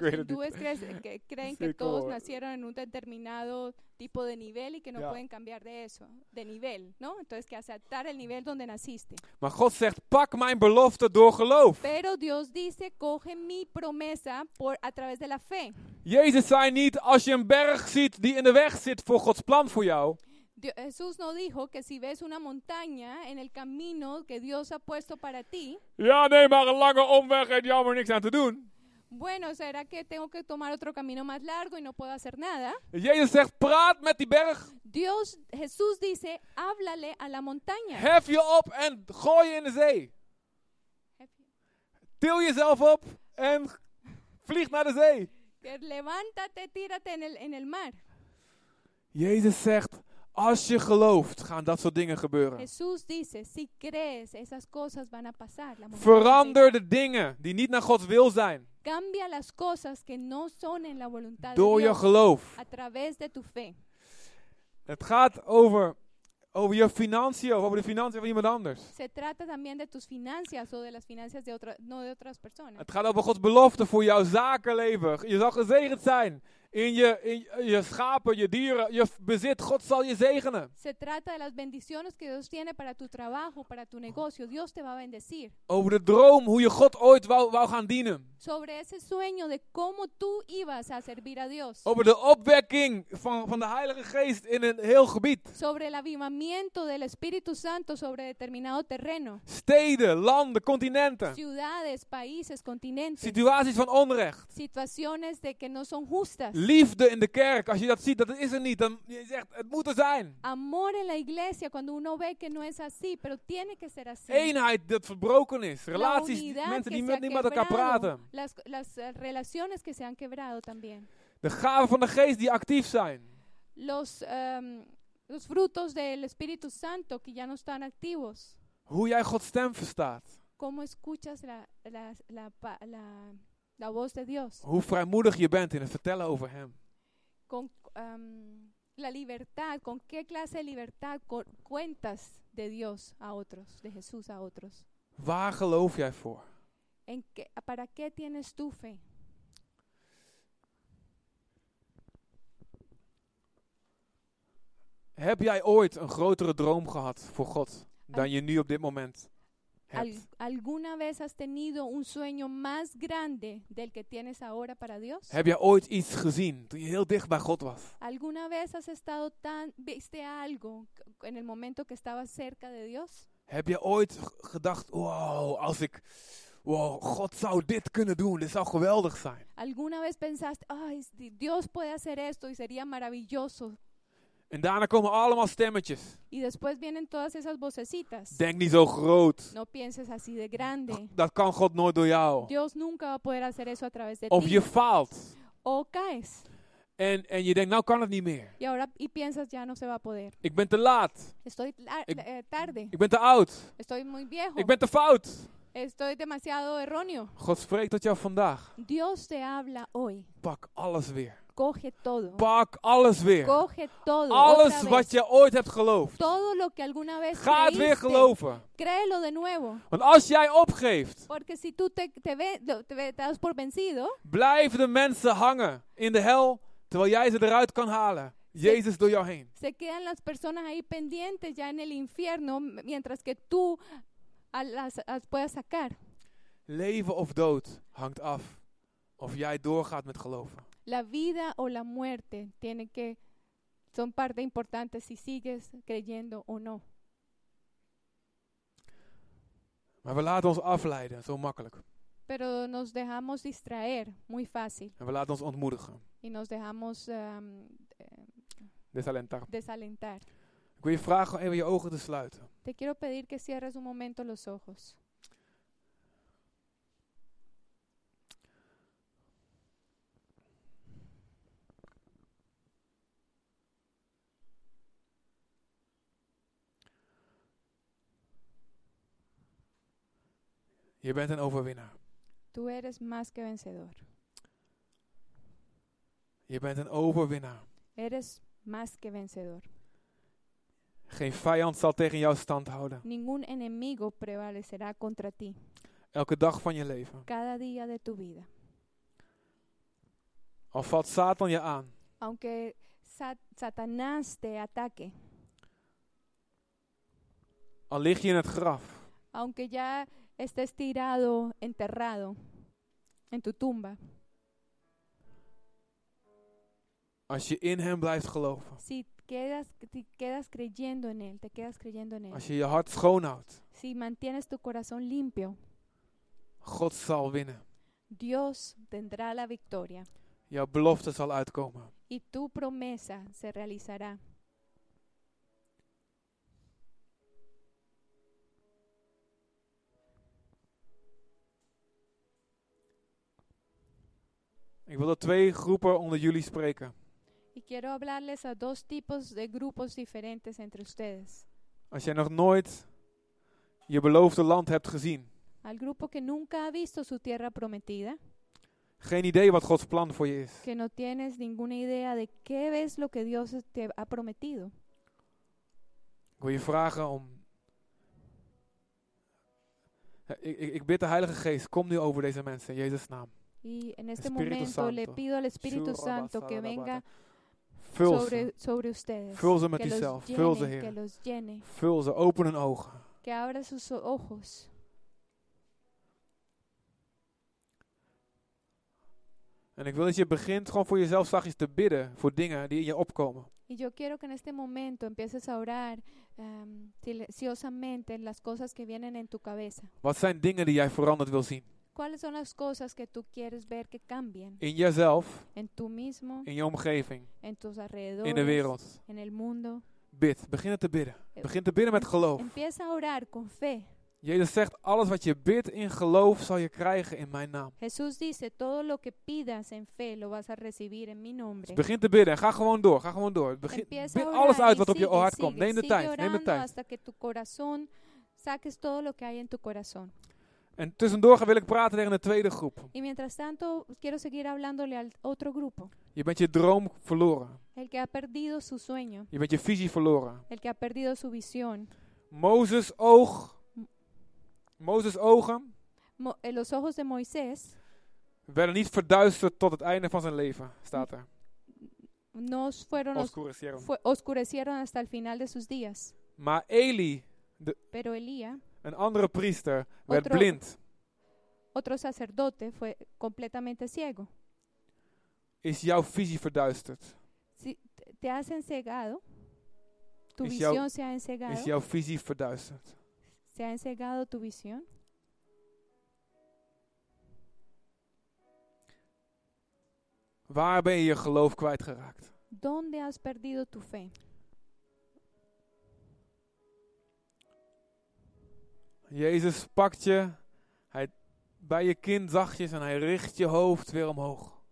Speaker 1: Los
Speaker 2: weet het niet.
Speaker 1: hindúes crees-
Speaker 2: [laughs]
Speaker 1: que creen que
Speaker 2: Sí,
Speaker 1: todos
Speaker 2: como-
Speaker 1: nacieron en un determinado tipo de nivel y que no
Speaker 2: Ya.
Speaker 1: pueden cambiar de eso, de nivel, ¿no? Entonces que aceptar el nivel donde naciste.
Speaker 2: Maar God zegt, pak mijn belofte door geloof.
Speaker 1: Pero Dios dice, coge mi promesa por, a través de la fe.
Speaker 2: Jezus zei niet, als je een berg ziet die in de weg zit voor Gods plan voor jou.
Speaker 1: Dio- Jesús no dijo que si ves una montaña en el camino que Dios ha puesto para ti,
Speaker 2: Ja, nee, maar een lange omweg heeft jammer niks aan te doen.
Speaker 1: bueno, será que tengo que tomar otro camino más largo y no puedo hacer nada.
Speaker 2: Jezus zegt, praat met die berg.
Speaker 1: Dios, Jesús dice, háblale a la montaña.
Speaker 2: Hef je op en gooi je in de zee. Til jezelf op en vlieg naar de zee.
Speaker 1: Que levántate, tírate en el, en el mar.
Speaker 2: Jezus zegt, als je gelooft, gaan dat soort dingen gebeuren.
Speaker 1: Jesús dice, si crees, esas cosas van a pasar. La montaña
Speaker 2: Verander de dingen die niet naar Gods wil zijn.
Speaker 1: se- Cambia las cosas que no son en la voluntad de
Speaker 2: Door je
Speaker 1: Dios
Speaker 2: geloof.
Speaker 1: a través de tu fe.
Speaker 2: Het gaat over, over je financiën of over de financiën van iemand anders.
Speaker 1: Se trata también de tus finanzas o de las finanzas de otras, no de otras personas.
Speaker 2: Het gaat over Gods belofte voor jouw zakenleven. Je zal gezegend zijn. In je, in je schapen, je dieren, je f- bezit. God zal je zegenen.
Speaker 1: Se trata de las bendiciones que Dios tiene para tu trabajo, para tu negocio. Dios te va a bendecir.
Speaker 2: Over de droom hoe je God ooit wou, wou gaan dienen.
Speaker 1: sobre ese sueño de cómo tú ibas a servir a Dios,
Speaker 2: Over de opwekking van, van de Heilige Geest in een heel gebied.
Speaker 1: sobre el avivamiento del Espíritu Santo sobre determinado terreno,
Speaker 2: Steden, landen, continenten.
Speaker 1: ciudades, países, continentes,
Speaker 2: Situaties van onrecht.
Speaker 1: situaciones de que no son justas,
Speaker 2: Liefde in de kerk, als je dat ziet, dat is er niet. Dan je zegt, het moet er zijn.
Speaker 1: amor en la iglesia cuando uno ve que no es así, pero tiene que ser así.
Speaker 2: Eenheid dat verbroken is.
Speaker 1: La
Speaker 2: Relaties, die-
Speaker 1: unidad
Speaker 2: mensen
Speaker 1: que
Speaker 2: die
Speaker 1: se ha
Speaker 2: met, niet met elkaar
Speaker 1: quebrado,
Speaker 2: praten.
Speaker 1: Las, las eh, relaciones que se han quebrado también.
Speaker 2: De gaven van de geest die actief zijn.
Speaker 1: Los, em, los frutos del Espíritu Santo que ya no están activos.
Speaker 2: Hoe jij Gods stem verstaat.
Speaker 1: ¿Cómo escuchas la, la, la, pa- la- la voz de Dios?
Speaker 2: Hoe vrijmoedig je bent in het vertellen over hem.
Speaker 1: Con, em, la libertad, ¿con qué clase de libertad co- cuentas de Dios a otros, de Jesús a otros?
Speaker 2: Waar geloof jij voor?
Speaker 1: ¿En qué, ¿Para qué tienes tu fe?
Speaker 2: Heb jij ooit een grotere droom gehad voor God dan je nu op dit moment
Speaker 1: Al-
Speaker 2: hebt?
Speaker 1: ¿Alguna vez has tenido un sueño más grande del que tienes ahora para Dios?
Speaker 2: Heb jij ooit iets gezien toen je heel dicht bij God was?
Speaker 1: ¿Alguna vez has estado tan, viste algo c- en el momento que estabas cerca de Dios?
Speaker 2: Heb je ooit g- gedacht, wow, als ik, wow, God zou dit kunnen doen, dit zou geweldig zijn.
Speaker 1: ¿Alguna vez pensaste, ay, si Dios puede hacer esto y sería maravilloso?
Speaker 2: En daarna komen allemaal stemmetjes.
Speaker 1: Y después vienen todas esas vocecitas.
Speaker 2: Denk niet zo groot.
Speaker 1: No pienses así de grande.
Speaker 2: Dat kan God nooit door jou.
Speaker 1: Dios nunca va a poder hacer eso a través de
Speaker 2: Of
Speaker 1: ti.
Speaker 2: je faalt.
Speaker 1: O caes.
Speaker 2: En, en je denkt, nou kan het niet meer.
Speaker 1: Y ahora y piensas, ya no se va a poder.
Speaker 2: Ik ben te laat.
Speaker 1: Estoy la-
Speaker 2: Ik-
Speaker 1: eh, tarde.
Speaker 2: Ik ben te oud.
Speaker 1: Estoy muy viejo.
Speaker 2: Ik ben te fout.
Speaker 1: Estoy demasiado erróneo.
Speaker 2: God spreekt tot jou vandaag.
Speaker 1: Dios te habla hoy.
Speaker 2: Pak alles weer.
Speaker 1: Coge todo.
Speaker 2: Pak alles weer.
Speaker 1: Coge todo.
Speaker 2: Alles
Speaker 1: otra
Speaker 2: wat
Speaker 1: vez.
Speaker 2: je ooit hebt geloofd.
Speaker 1: Todo lo que alguna vez
Speaker 2: Ga het weer
Speaker 1: creíste,
Speaker 2: geloven.
Speaker 1: créelo de nuevo.
Speaker 2: Want als jij opgeeft,
Speaker 1: Porque si tú te, te, ve- lo- te ve- te das por vencido,
Speaker 2: Blijven de mensen hangen in de hel, terwijl jij ze eruit kan halen. Jezus door jou heen.
Speaker 1: se quedan las personas ahí pendientes ya en el infierno, m- mientras que tú a las, las puedas sacar.
Speaker 2: Leven of dood hangt af of jij doorgaat met geloven.
Speaker 1: La vida o la muerte tiene que, son parte importante si sigues creyendo o no.
Speaker 2: Maar we laten ons afleiden, zo makkelijk.
Speaker 1: Pero nos dejamos distraer muy fácil
Speaker 2: En we laten ons ontmoedigen.
Speaker 1: y nos dejamos am, eh,
Speaker 2: Desalentar.
Speaker 1: desalentar.
Speaker 2: Ik wil je vragen om even je ogen te sluiten.
Speaker 1: Te quiero pedir que cierres un momento los ojos.
Speaker 2: Je bent een overwinnaar.
Speaker 1: Tú eres más que vencedor.
Speaker 2: Je bent een overwinnaar.
Speaker 1: Eres más que vencedor.
Speaker 2: Geen vijand zal tegen jou stand houden.
Speaker 1: Ningún enemigo prevalecerá contra ti
Speaker 2: Elke dag van je leven.
Speaker 1: cada día de tu vida.
Speaker 2: Al valt Satan je aan,
Speaker 1: Aunque Sa- Satanás te ataque,
Speaker 2: al lig je in het graf.
Speaker 1: aunque ya estés tirado, enterrado en tu tumba,
Speaker 2: Als je in hem blijft geloven.
Speaker 1: si quedas, si quedas creyendo en Él, te quedas creyendo en Él,
Speaker 2: Als je je hart schoonhoudt.
Speaker 1: si mantienes tu corazón limpio,
Speaker 2: God zal winnen.
Speaker 1: Dios tendrá la victoria
Speaker 2: Jouw belofte zal uitkomen.
Speaker 1: y tu promesa se realizará.
Speaker 2: Ik wil tot twee groepen onder jullie spreken.
Speaker 1: Y quiero hablarles a dos tipos de grupos diferentes entre ustedes.
Speaker 2: Als jij nog nooit je beloofde land hebt gezien,
Speaker 1: Al grupo que nunca ha visto su tierra prometida,
Speaker 2: geen idee wat Gods plan voor je is.
Speaker 1: que no tienes ninguna idea de qué es lo que Dios te ha prometido.
Speaker 2: Ik wil je vragen om. Eh, Ik, ik, ik bid de Heilige Geest, kom nu over deze mensen in Jezus' naam.
Speaker 1: Y en este
Speaker 2: Espíritu
Speaker 1: momento le
Speaker 2: Santo.
Speaker 1: pido al Espíritu Santo que venga
Speaker 2: Vul ze.
Speaker 1: sobre, sobre ustedes,
Speaker 2: Vul ze met
Speaker 1: que
Speaker 2: uzelf.
Speaker 1: los,
Speaker 2: Vul ze,
Speaker 1: llene,
Speaker 2: Heer.
Speaker 1: que los llene,
Speaker 2: Vul ze, open hun ogen.
Speaker 1: que abra sus ojos.
Speaker 2: En ik wil dat je begint gewoon voor jezelf zachtjes te bidden voor dingen die in je opkomen.
Speaker 1: Y yo quiero que en este momento empieces a orar am, silenciosamente las cosas que vienen en tu cabeza.
Speaker 2: Wat zijn dingen die jij veranderd wil zien?
Speaker 1: ¿Cuáles son las cosas que tú quieres ver que cambien
Speaker 2: In jezelf,
Speaker 1: en tú mismo,
Speaker 2: in je omgeving,
Speaker 1: en tus
Speaker 2: in de
Speaker 1: alrededores,
Speaker 2: wereld.
Speaker 1: en el mundo?
Speaker 2: Bid, begin het te bidden. Begin te bidden met geloof.
Speaker 1: Empieza a orar con fe.
Speaker 2: Jezus zegt, alles wat je bidt in geloof zal je krijgen in mijn naam.
Speaker 1: Jesús dice, todo lo que pidas en fe lo vas a recibir en mi
Speaker 2: Dus
Speaker 1: nombre.
Speaker 2: begin te bidden en ga gewoon door. Ga gewoon door. Begin, bid
Speaker 1: Empieza a orar
Speaker 2: alles uit
Speaker 1: y
Speaker 2: wat op je
Speaker 1: sigue,
Speaker 2: hart komt.
Speaker 1: sigue,
Speaker 2: Neem de
Speaker 1: sigue
Speaker 2: tijd, neem de
Speaker 1: orando
Speaker 2: tijd.
Speaker 1: hasta que tu corazón saques todo lo que hay en tu corazón.
Speaker 2: En tussendoor ga- wil ik praten tegen de tweede groep.
Speaker 1: Y mientras tanto, quiero seguir hablándole al otro grupo,
Speaker 2: Je bent je droom verloren.
Speaker 1: el que ha perdido su sueño,
Speaker 2: Je bent je visie verloren.
Speaker 1: el que ha perdido su visión.
Speaker 2: Mozes oog. Mozes ogen
Speaker 1: Mo- eh, los ojos de Moisés
Speaker 2: werden niet verduisterd tot het einde van zijn leven, staat er.
Speaker 1: nos fueron os-
Speaker 2: Oscurecieron.
Speaker 1: fue- oscurecieron hasta el final de sus días,
Speaker 2: Maar Eli,
Speaker 1: pero Elía,
Speaker 2: een andere priester, werd
Speaker 1: Otro-
Speaker 2: blind.
Speaker 1: otro sacerdote, fue completamente ciego.
Speaker 2: Is jouw visie verduisterd?
Speaker 1: Si te- te has encegado, tu
Speaker 2: Es ya-
Speaker 1: visión se ha encegado,
Speaker 2: Is jouw visie verduisterd?
Speaker 1: se ha encegado tu visión.
Speaker 2: Waar ben je je geloof kwijtgeraakt?
Speaker 1: ¿Dónde has perdido tu fe?
Speaker 2: Jezus pakt je hij, bij je kind zachtjes en hij richt je hoofd weer omhoog.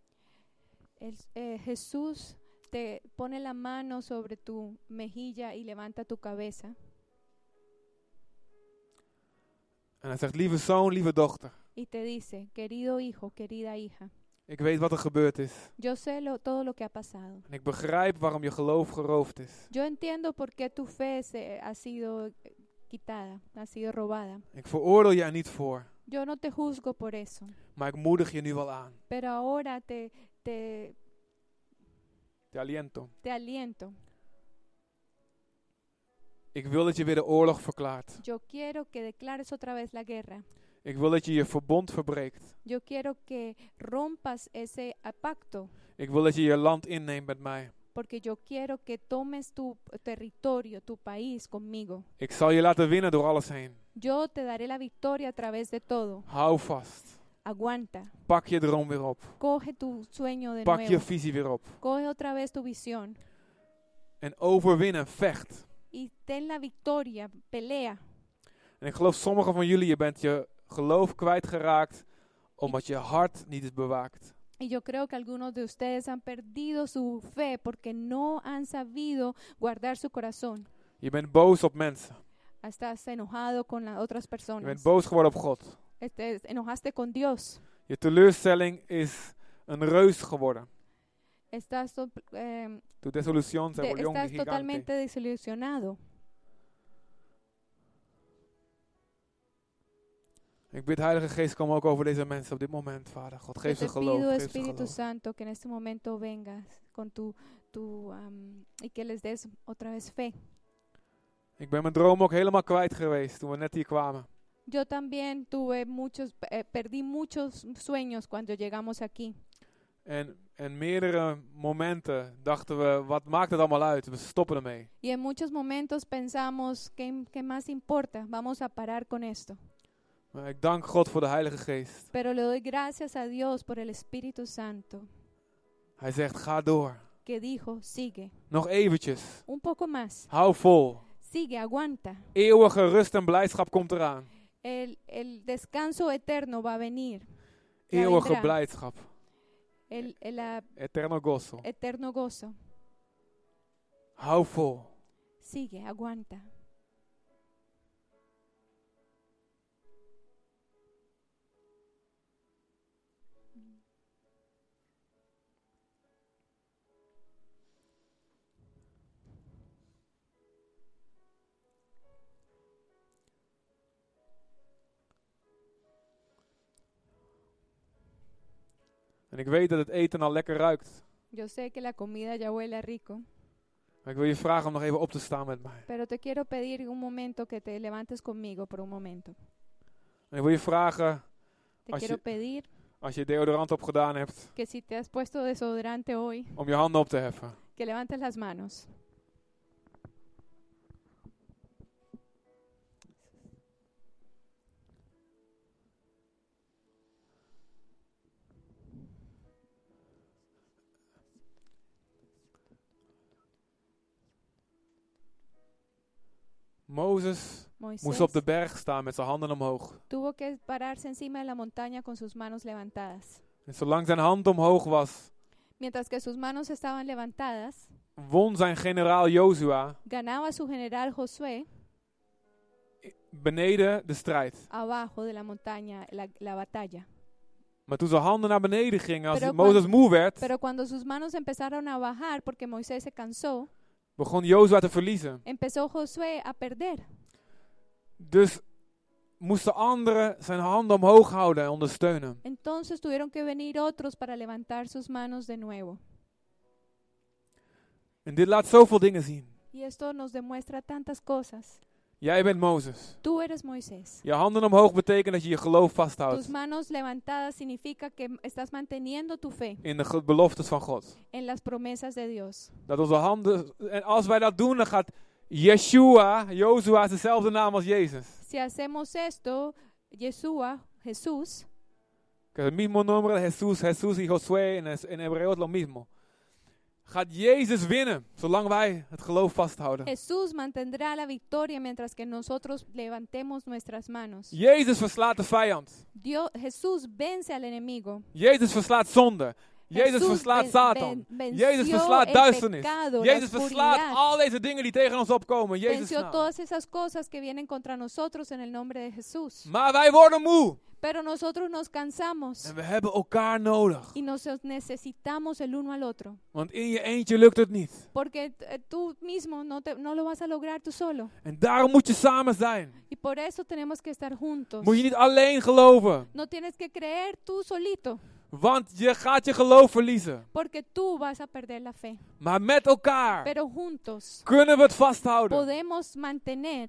Speaker 1: El- eh, Jesús te pone la mano sobre tu mejilla y levanta tu cabeza
Speaker 2: En hij zegt, lieve zoon, lieve dochter,
Speaker 1: y te dice, querido hijo, querida hija,
Speaker 2: ik weet wat er gebeurd is.
Speaker 1: yo sé lo- todo lo que ha pasado.
Speaker 2: En ik begrijp waarom je geloof geroofd is.
Speaker 1: Yo entiendo por qué tu fe se, ha sido eh, quitada, ha sido robada.
Speaker 2: Ik veroordeel je er niet voor,
Speaker 1: Yo no te juzgo por eso,
Speaker 2: maar ik moedig je nu wel aan.
Speaker 1: pero ahora te, te,
Speaker 2: Te aliento.
Speaker 1: te aliento.
Speaker 2: Ik wil dat je weer de oorlog verklaart.
Speaker 1: Yo quiero que declares otra vez la guerra.
Speaker 2: Ik wil dat je je verbond verbreekt.
Speaker 1: Yo quiero que rompas ese eh, pacto
Speaker 2: Ik wil dat je je land inneemt met mij.
Speaker 1: porque yo quiero que tomes tu territorio, tu país conmigo.
Speaker 2: Ik zal je laten winnen door alles heen.
Speaker 1: Yo te daré la victoria a través de todo.
Speaker 2: Hou vast.
Speaker 1: Aguanta,
Speaker 2: Pak je droom weer op.
Speaker 1: coge tu sueño de
Speaker 2: Pak je
Speaker 1: nuevo,
Speaker 2: visie weer op.
Speaker 1: coge otra vez tu visión
Speaker 2: En overwin en vecht.
Speaker 1: y ten la victoria, pelea.
Speaker 2: En ik geloof sommigen van jullie, je bent je geloof kwijtgeraakt omdat je hart niet is bewaakt.
Speaker 1: Y yo creo que algunos de ustedes han perdido su fe porque no han sabido guardar su corazón.
Speaker 2: Je bent boos op mensen.
Speaker 1: Estás enojado con las otras
Speaker 2: Je bent
Speaker 1: personas.
Speaker 2: boos geworden op God.
Speaker 1: Te este, enojaste con Dios.
Speaker 2: Je teleurstelling is een reus geworden.
Speaker 1: Estás, to- eh,
Speaker 2: Tu desolución se
Speaker 1: te-
Speaker 2: volvió un
Speaker 1: estás
Speaker 2: gigante.
Speaker 1: totalmente desilusionado.
Speaker 2: Ik bid Heilige Geest, kom ook over deze mensen op dit moment, Vader. God,
Speaker 1: Yo
Speaker 2: geef
Speaker 1: te
Speaker 2: ze geloof.
Speaker 1: pido,
Speaker 2: geef ze
Speaker 1: Espíritu
Speaker 2: geloof.
Speaker 1: Santo, que en este momento vengas con tu, tu am, y que les des otra vez fe.
Speaker 2: Ik ben mijn droom ook helemaal kwijt geweest toen we net hier kwamen.
Speaker 1: Yo también tuve muchos, eh, perdí muchos sueños cuando llegamos aquí.
Speaker 2: En, en meerdere momenten dachten we, wat maakt het allemaal uit? We stoppen ermee.
Speaker 1: Y en muchos momentos pensamos, ¿qué, qué más importa? Vamos a parar con esto.
Speaker 2: Maar ik dank God voor de Heilige Geest.
Speaker 1: Pero le doy gracias a Dios por el Espíritu Santo
Speaker 2: Hij zegt, ga door.
Speaker 1: que dijo, sigue,
Speaker 2: Nog eventjes.
Speaker 1: un poco más,
Speaker 2: Hou vol.
Speaker 1: sigue, aguanta.
Speaker 2: Eeuwige rust en blijdschap komt eraan.
Speaker 1: El, el descanso eterno va a venir, Ja,
Speaker 2: Eeuwige
Speaker 1: inderdaad.
Speaker 2: blijdschap.
Speaker 1: el, el ah,
Speaker 2: Eterno gozo.
Speaker 1: eterno gozo.
Speaker 2: Hou vol.
Speaker 1: Sigue, aguanta.
Speaker 2: En ik weet dat het eten al lekker ruikt.
Speaker 1: Yo sé que la comida ya huele rico,
Speaker 2: Maar ik wil je vragen om nog even op te staan met mij.
Speaker 1: pero te quiero pedir un momento que te levantes conmigo por un momento.
Speaker 2: En ik wil je vragen,
Speaker 1: Te
Speaker 2: Así-
Speaker 1: quiero pedir
Speaker 2: Als je deodorant opgedaan hebt,
Speaker 1: que si te has puesto desodorante hoy,
Speaker 2: om je handen op te heffen.
Speaker 1: que levantes las manos.
Speaker 2: Mozes
Speaker 1: Moisés
Speaker 2: moest op de berg staan met zijn handen omhoog.
Speaker 1: tuvo que pararse encima de la montaña con sus manos levantadas.
Speaker 2: En zolang zijn hand omhoog was,
Speaker 1: Mientras que sus manos estaban levantadas,
Speaker 2: won zijn generaal Jozua
Speaker 1: ganaba su general Josué
Speaker 2: beneden de strijd.
Speaker 1: abajo de la montaña la, la batalla.
Speaker 2: Maar toen zijn handen naar beneden gingen, als
Speaker 1: Pero
Speaker 2: Mozes
Speaker 1: cuando-
Speaker 2: moe werd,
Speaker 1: Pero cuando sus manos empezaron a bajar porque Moisés se cansó,
Speaker 2: begon Jozua te verliezen.
Speaker 1: empezó Josué a perder.
Speaker 2: Dus moesten anderen zijn handen omhoog houden en ondersteunen.
Speaker 1: Entonces tuvieron que venir otros para levantar sus manos de nuevo.
Speaker 2: En dit laat zoveel dingen zien.
Speaker 1: Y esto nos demuestra tantas cosas.
Speaker 2: Jij bent Mozes.
Speaker 1: Tú eres Moisés.
Speaker 2: Je handen omhoog betekent dat je je geloof vasthoudt
Speaker 1: Tus manos levantadas significa que m- estás manteniendo tu fe
Speaker 2: in de ge- beloftes van God.
Speaker 1: en las promesas de Dios.
Speaker 2: Dat onze handen. En als wij dat doen, dan gaat Yeshua, Jozua is dezelfde naam als Jezus.
Speaker 1: Si hacemos esto, Yeshua, Jesús,
Speaker 2: Que es el mismo nombre de Jesús, Jesús y Josué en, es- en hebreo es lo mismo. Gaat Jezus winnen, zolang wij het geloof vasthouden.
Speaker 1: Jesús mantendrá la victoria mientras que nosotros levantemos nuestras manos.
Speaker 2: Jezus verslaat de vijand.
Speaker 1: Dios, Jesús vence al enemigo.
Speaker 2: Jezus verslaat zonde. Jezus
Speaker 1: Jesús
Speaker 2: verslaat
Speaker 1: ven-
Speaker 2: Satan.
Speaker 1: ven- venció
Speaker 2: Jezus verslaat
Speaker 1: el
Speaker 2: duisternis.
Speaker 1: pecado, la
Speaker 2: Jezus verslaat
Speaker 1: oscuridad.
Speaker 2: al deze dingen die tegen ons opkomen. Jezus
Speaker 1: venció
Speaker 2: naam.
Speaker 1: todas esas cosas que vienen contra nosotros en el nombre de Jesús.
Speaker 2: Maar wij worden moe.
Speaker 1: Pero nosotros nos cansamos
Speaker 2: En we hebben elkaar nodig.
Speaker 1: y nos necesitamos el uno al otro.
Speaker 2: Want in je eentje lukt het niet.
Speaker 1: Porque t- eh, tú mismo no, te- no lo vas a lograr tú solo.
Speaker 2: En daarom moet je samen zijn.
Speaker 1: Y por eso tenemos que estar juntos.
Speaker 2: Moet je niet alleen geloven.
Speaker 1: No tienes que creer tú solito,
Speaker 2: Want je gaat je geloof verliezen.
Speaker 1: porque tú vas a perder la fe.
Speaker 2: Maar met elkaar.
Speaker 1: Pero juntos
Speaker 2: kunnen we het vasthouden.
Speaker 1: podemos mantener,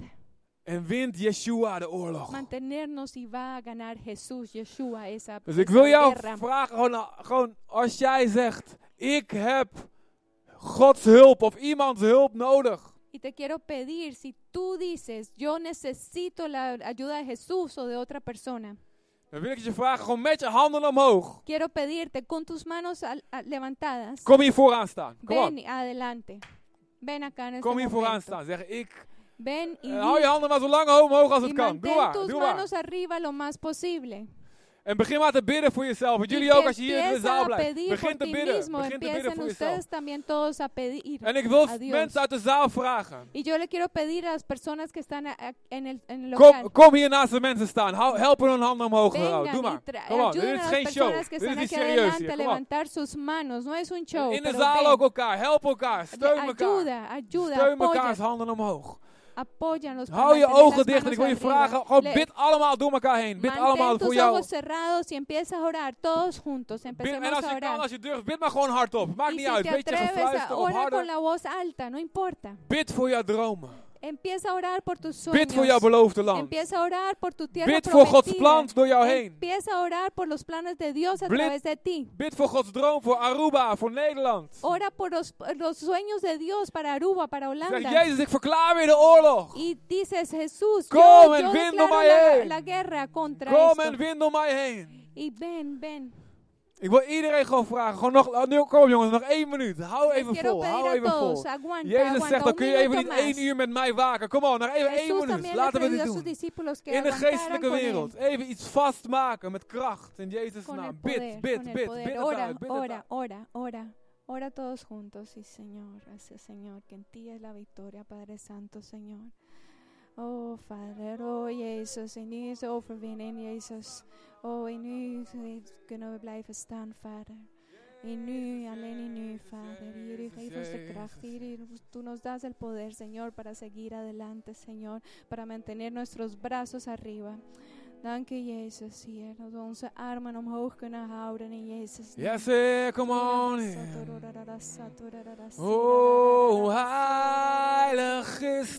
Speaker 2: En wint Yeshua de oorlog.
Speaker 1: mantenernos y va a ganar Jesús, Yeshua, esa,
Speaker 2: Dus ik
Speaker 1: esa
Speaker 2: wil jou
Speaker 1: guerra.
Speaker 2: vragen, gewoon, gewoon als jij zegt, ik heb Gods hulp of iemands hulp nodig.
Speaker 1: Y te quiero pedir, si tú dices, yo necesito la ayuda de Jesús o de otra persona,
Speaker 2: Dan wil ik je vragen, gewoon met je handen omhoog.
Speaker 1: quiero pedirte con tus manos al- a- levantadas,
Speaker 2: Kom hier vooraan staan. Kom
Speaker 1: ven
Speaker 2: op.
Speaker 1: adelante. Ven acá en este
Speaker 2: Kom hier vooraan
Speaker 1: momento.
Speaker 2: staan. Zeg ik.
Speaker 1: Ven y,
Speaker 2: En
Speaker 1: di-
Speaker 2: hou je handen maar zo lang omhoog als
Speaker 1: y
Speaker 2: het kan. Doe
Speaker 1: mantén
Speaker 2: maar.
Speaker 1: tus
Speaker 2: Doe maar.
Speaker 1: manos arriba lo más posible.
Speaker 2: En begin maar te bidden voor jezelf. Want
Speaker 1: Y
Speaker 2: jullie
Speaker 1: que
Speaker 2: ook als je hier in de
Speaker 1: empieza
Speaker 2: zaal
Speaker 1: a
Speaker 2: blijft.
Speaker 1: pedir
Speaker 2: Begin
Speaker 1: por
Speaker 2: te
Speaker 1: ti
Speaker 2: bidden.
Speaker 1: mismo,
Speaker 2: Begin te bidden
Speaker 1: empiezan
Speaker 2: voor jezelf.
Speaker 1: ustedes también todos a pedir.
Speaker 2: En ik wil
Speaker 1: a Dios.
Speaker 2: mensen uit de zaal vragen.
Speaker 1: Y yo le quiero pedir a las personas que están a- a- en, el, en el
Speaker 2: Kom,
Speaker 1: local.
Speaker 2: kom hier naast de mensen staan. Hou, help hun hun handen omhoog. te houden.
Speaker 1: Vengan
Speaker 2: Doe
Speaker 1: y
Speaker 2: maar.
Speaker 1: tra-
Speaker 2: Kom op, dit
Speaker 1: ayuden
Speaker 2: is
Speaker 1: a
Speaker 2: geen
Speaker 1: las
Speaker 2: show.
Speaker 1: personas que
Speaker 2: Dit is
Speaker 1: están
Speaker 2: niet
Speaker 1: aquí
Speaker 2: serieus
Speaker 1: adelante
Speaker 2: hier.
Speaker 1: a
Speaker 2: Kom op.
Speaker 1: levantar sus manos. No es un show.
Speaker 2: In de
Speaker 1: pero
Speaker 2: zaal
Speaker 1: ven.
Speaker 2: ook elkaar. Help elkaar.
Speaker 1: De-
Speaker 2: Steun elkaar.
Speaker 1: ayuda, ayuda,
Speaker 2: Steun elkaars
Speaker 1: apoya,
Speaker 2: handen omhoog.
Speaker 1: apoyan los
Speaker 2: Hou je ogen dicht en ik wil je vragen. Gewoon bid allemaal door elkaar heen. Bid allemaal
Speaker 1: Mantén
Speaker 2: voor
Speaker 1: tus
Speaker 2: jou.
Speaker 1: ojos cerrados y empiezas a orar todos juntos.
Speaker 2: Bid, en
Speaker 1: Empecemos
Speaker 2: als
Speaker 1: a
Speaker 2: je kan,
Speaker 1: orar.
Speaker 2: als je durft, bid maar gewoon hardop. Maakt
Speaker 1: Y
Speaker 2: niet
Speaker 1: si
Speaker 2: uit.
Speaker 1: te
Speaker 2: Beetje
Speaker 1: atreves
Speaker 2: gefluister
Speaker 1: a
Speaker 2: of
Speaker 1: orar con
Speaker 2: harder.
Speaker 1: la voz alta, no importa.
Speaker 2: Bid voor jouw dromen.
Speaker 1: Empieza a orar por tus sueños.
Speaker 2: Bid voor jouw beloofde land.
Speaker 1: Empieza a orar por tu tierra
Speaker 2: Bid voor Gods
Speaker 1: prometida.
Speaker 2: plan door jou heen.
Speaker 1: Empieza a orar por los planes de Dios a
Speaker 2: Bid-
Speaker 1: través de ti.
Speaker 2: Bid voor Gods droom, voor Aruba, voor Nederland.
Speaker 1: Ora por los, por los sueños de Dios para Aruba, para
Speaker 2: Zeg,
Speaker 1: Holanda.
Speaker 2: Jezus, ik verklaar weer de oorlog.
Speaker 1: Y dices, Jesús,
Speaker 2: Come
Speaker 1: yo,
Speaker 2: and
Speaker 1: yo
Speaker 2: win
Speaker 1: declaro
Speaker 2: on my
Speaker 1: la,
Speaker 2: head.
Speaker 1: la guerra contra
Speaker 2: Kom
Speaker 1: esto.
Speaker 2: en win door mij heen.
Speaker 1: Y ven, ven.
Speaker 2: Ik wil iedereen gewoon vragen. Gewoon nog, oh, nu, kom jongens, nog één minuut. Hou
Speaker 1: Les
Speaker 2: even
Speaker 1: quiero
Speaker 2: vol.
Speaker 1: pedir
Speaker 2: Hou
Speaker 1: a
Speaker 2: even vol.
Speaker 1: todos, aguanta,
Speaker 2: Jezus
Speaker 1: aguanta,
Speaker 2: zegt, dan
Speaker 1: un
Speaker 2: kun je even
Speaker 1: minuto
Speaker 2: niet
Speaker 1: más.
Speaker 2: één uur met mij waken. Kom op, nog even één
Speaker 1: Jesús
Speaker 2: minuut.
Speaker 1: también le
Speaker 2: Laten we
Speaker 1: pidió
Speaker 2: dit
Speaker 1: a sus
Speaker 2: doen.
Speaker 1: discípulos que
Speaker 2: In de
Speaker 1: aguantaran
Speaker 2: geestelijke
Speaker 1: con él.
Speaker 2: wereld. Even iets vastmaken met kracht. In Jezus'
Speaker 1: Con el
Speaker 2: naam.
Speaker 1: poder,
Speaker 2: Bid,
Speaker 1: con
Speaker 2: bid,
Speaker 1: el
Speaker 2: bid.
Speaker 1: poder.
Speaker 2: Bid het
Speaker 1: ora,
Speaker 2: uit, bid het
Speaker 1: ora,
Speaker 2: uit.
Speaker 1: ora, ora. Ora todos juntos, sí, Señor. Gracias, Señor, que en ti es la victoria, Padre Santo, Señor. Oh, Father, oh, Jezus, in u is de overwinning, Jezus. Oh, in u kunnen we blijven staan, Vader. In u, alleen in u, Vader. Hier u geeft ons de kracht, hier u- tú nos das el poder, Señor, para seguir adelante, Señor, para mantener nuestros brazos arriba. Dank u, Jezus, Heer, dat we onze armen omhoog kunnen houden in Jezus. naam.
Speaker 2: Yes, eh, come on in.
Speaker 1: Satorararasa, torararasa,
Speaker 2: Oh,
Speaker 1: rarararasa.
Speaker 2: heilig is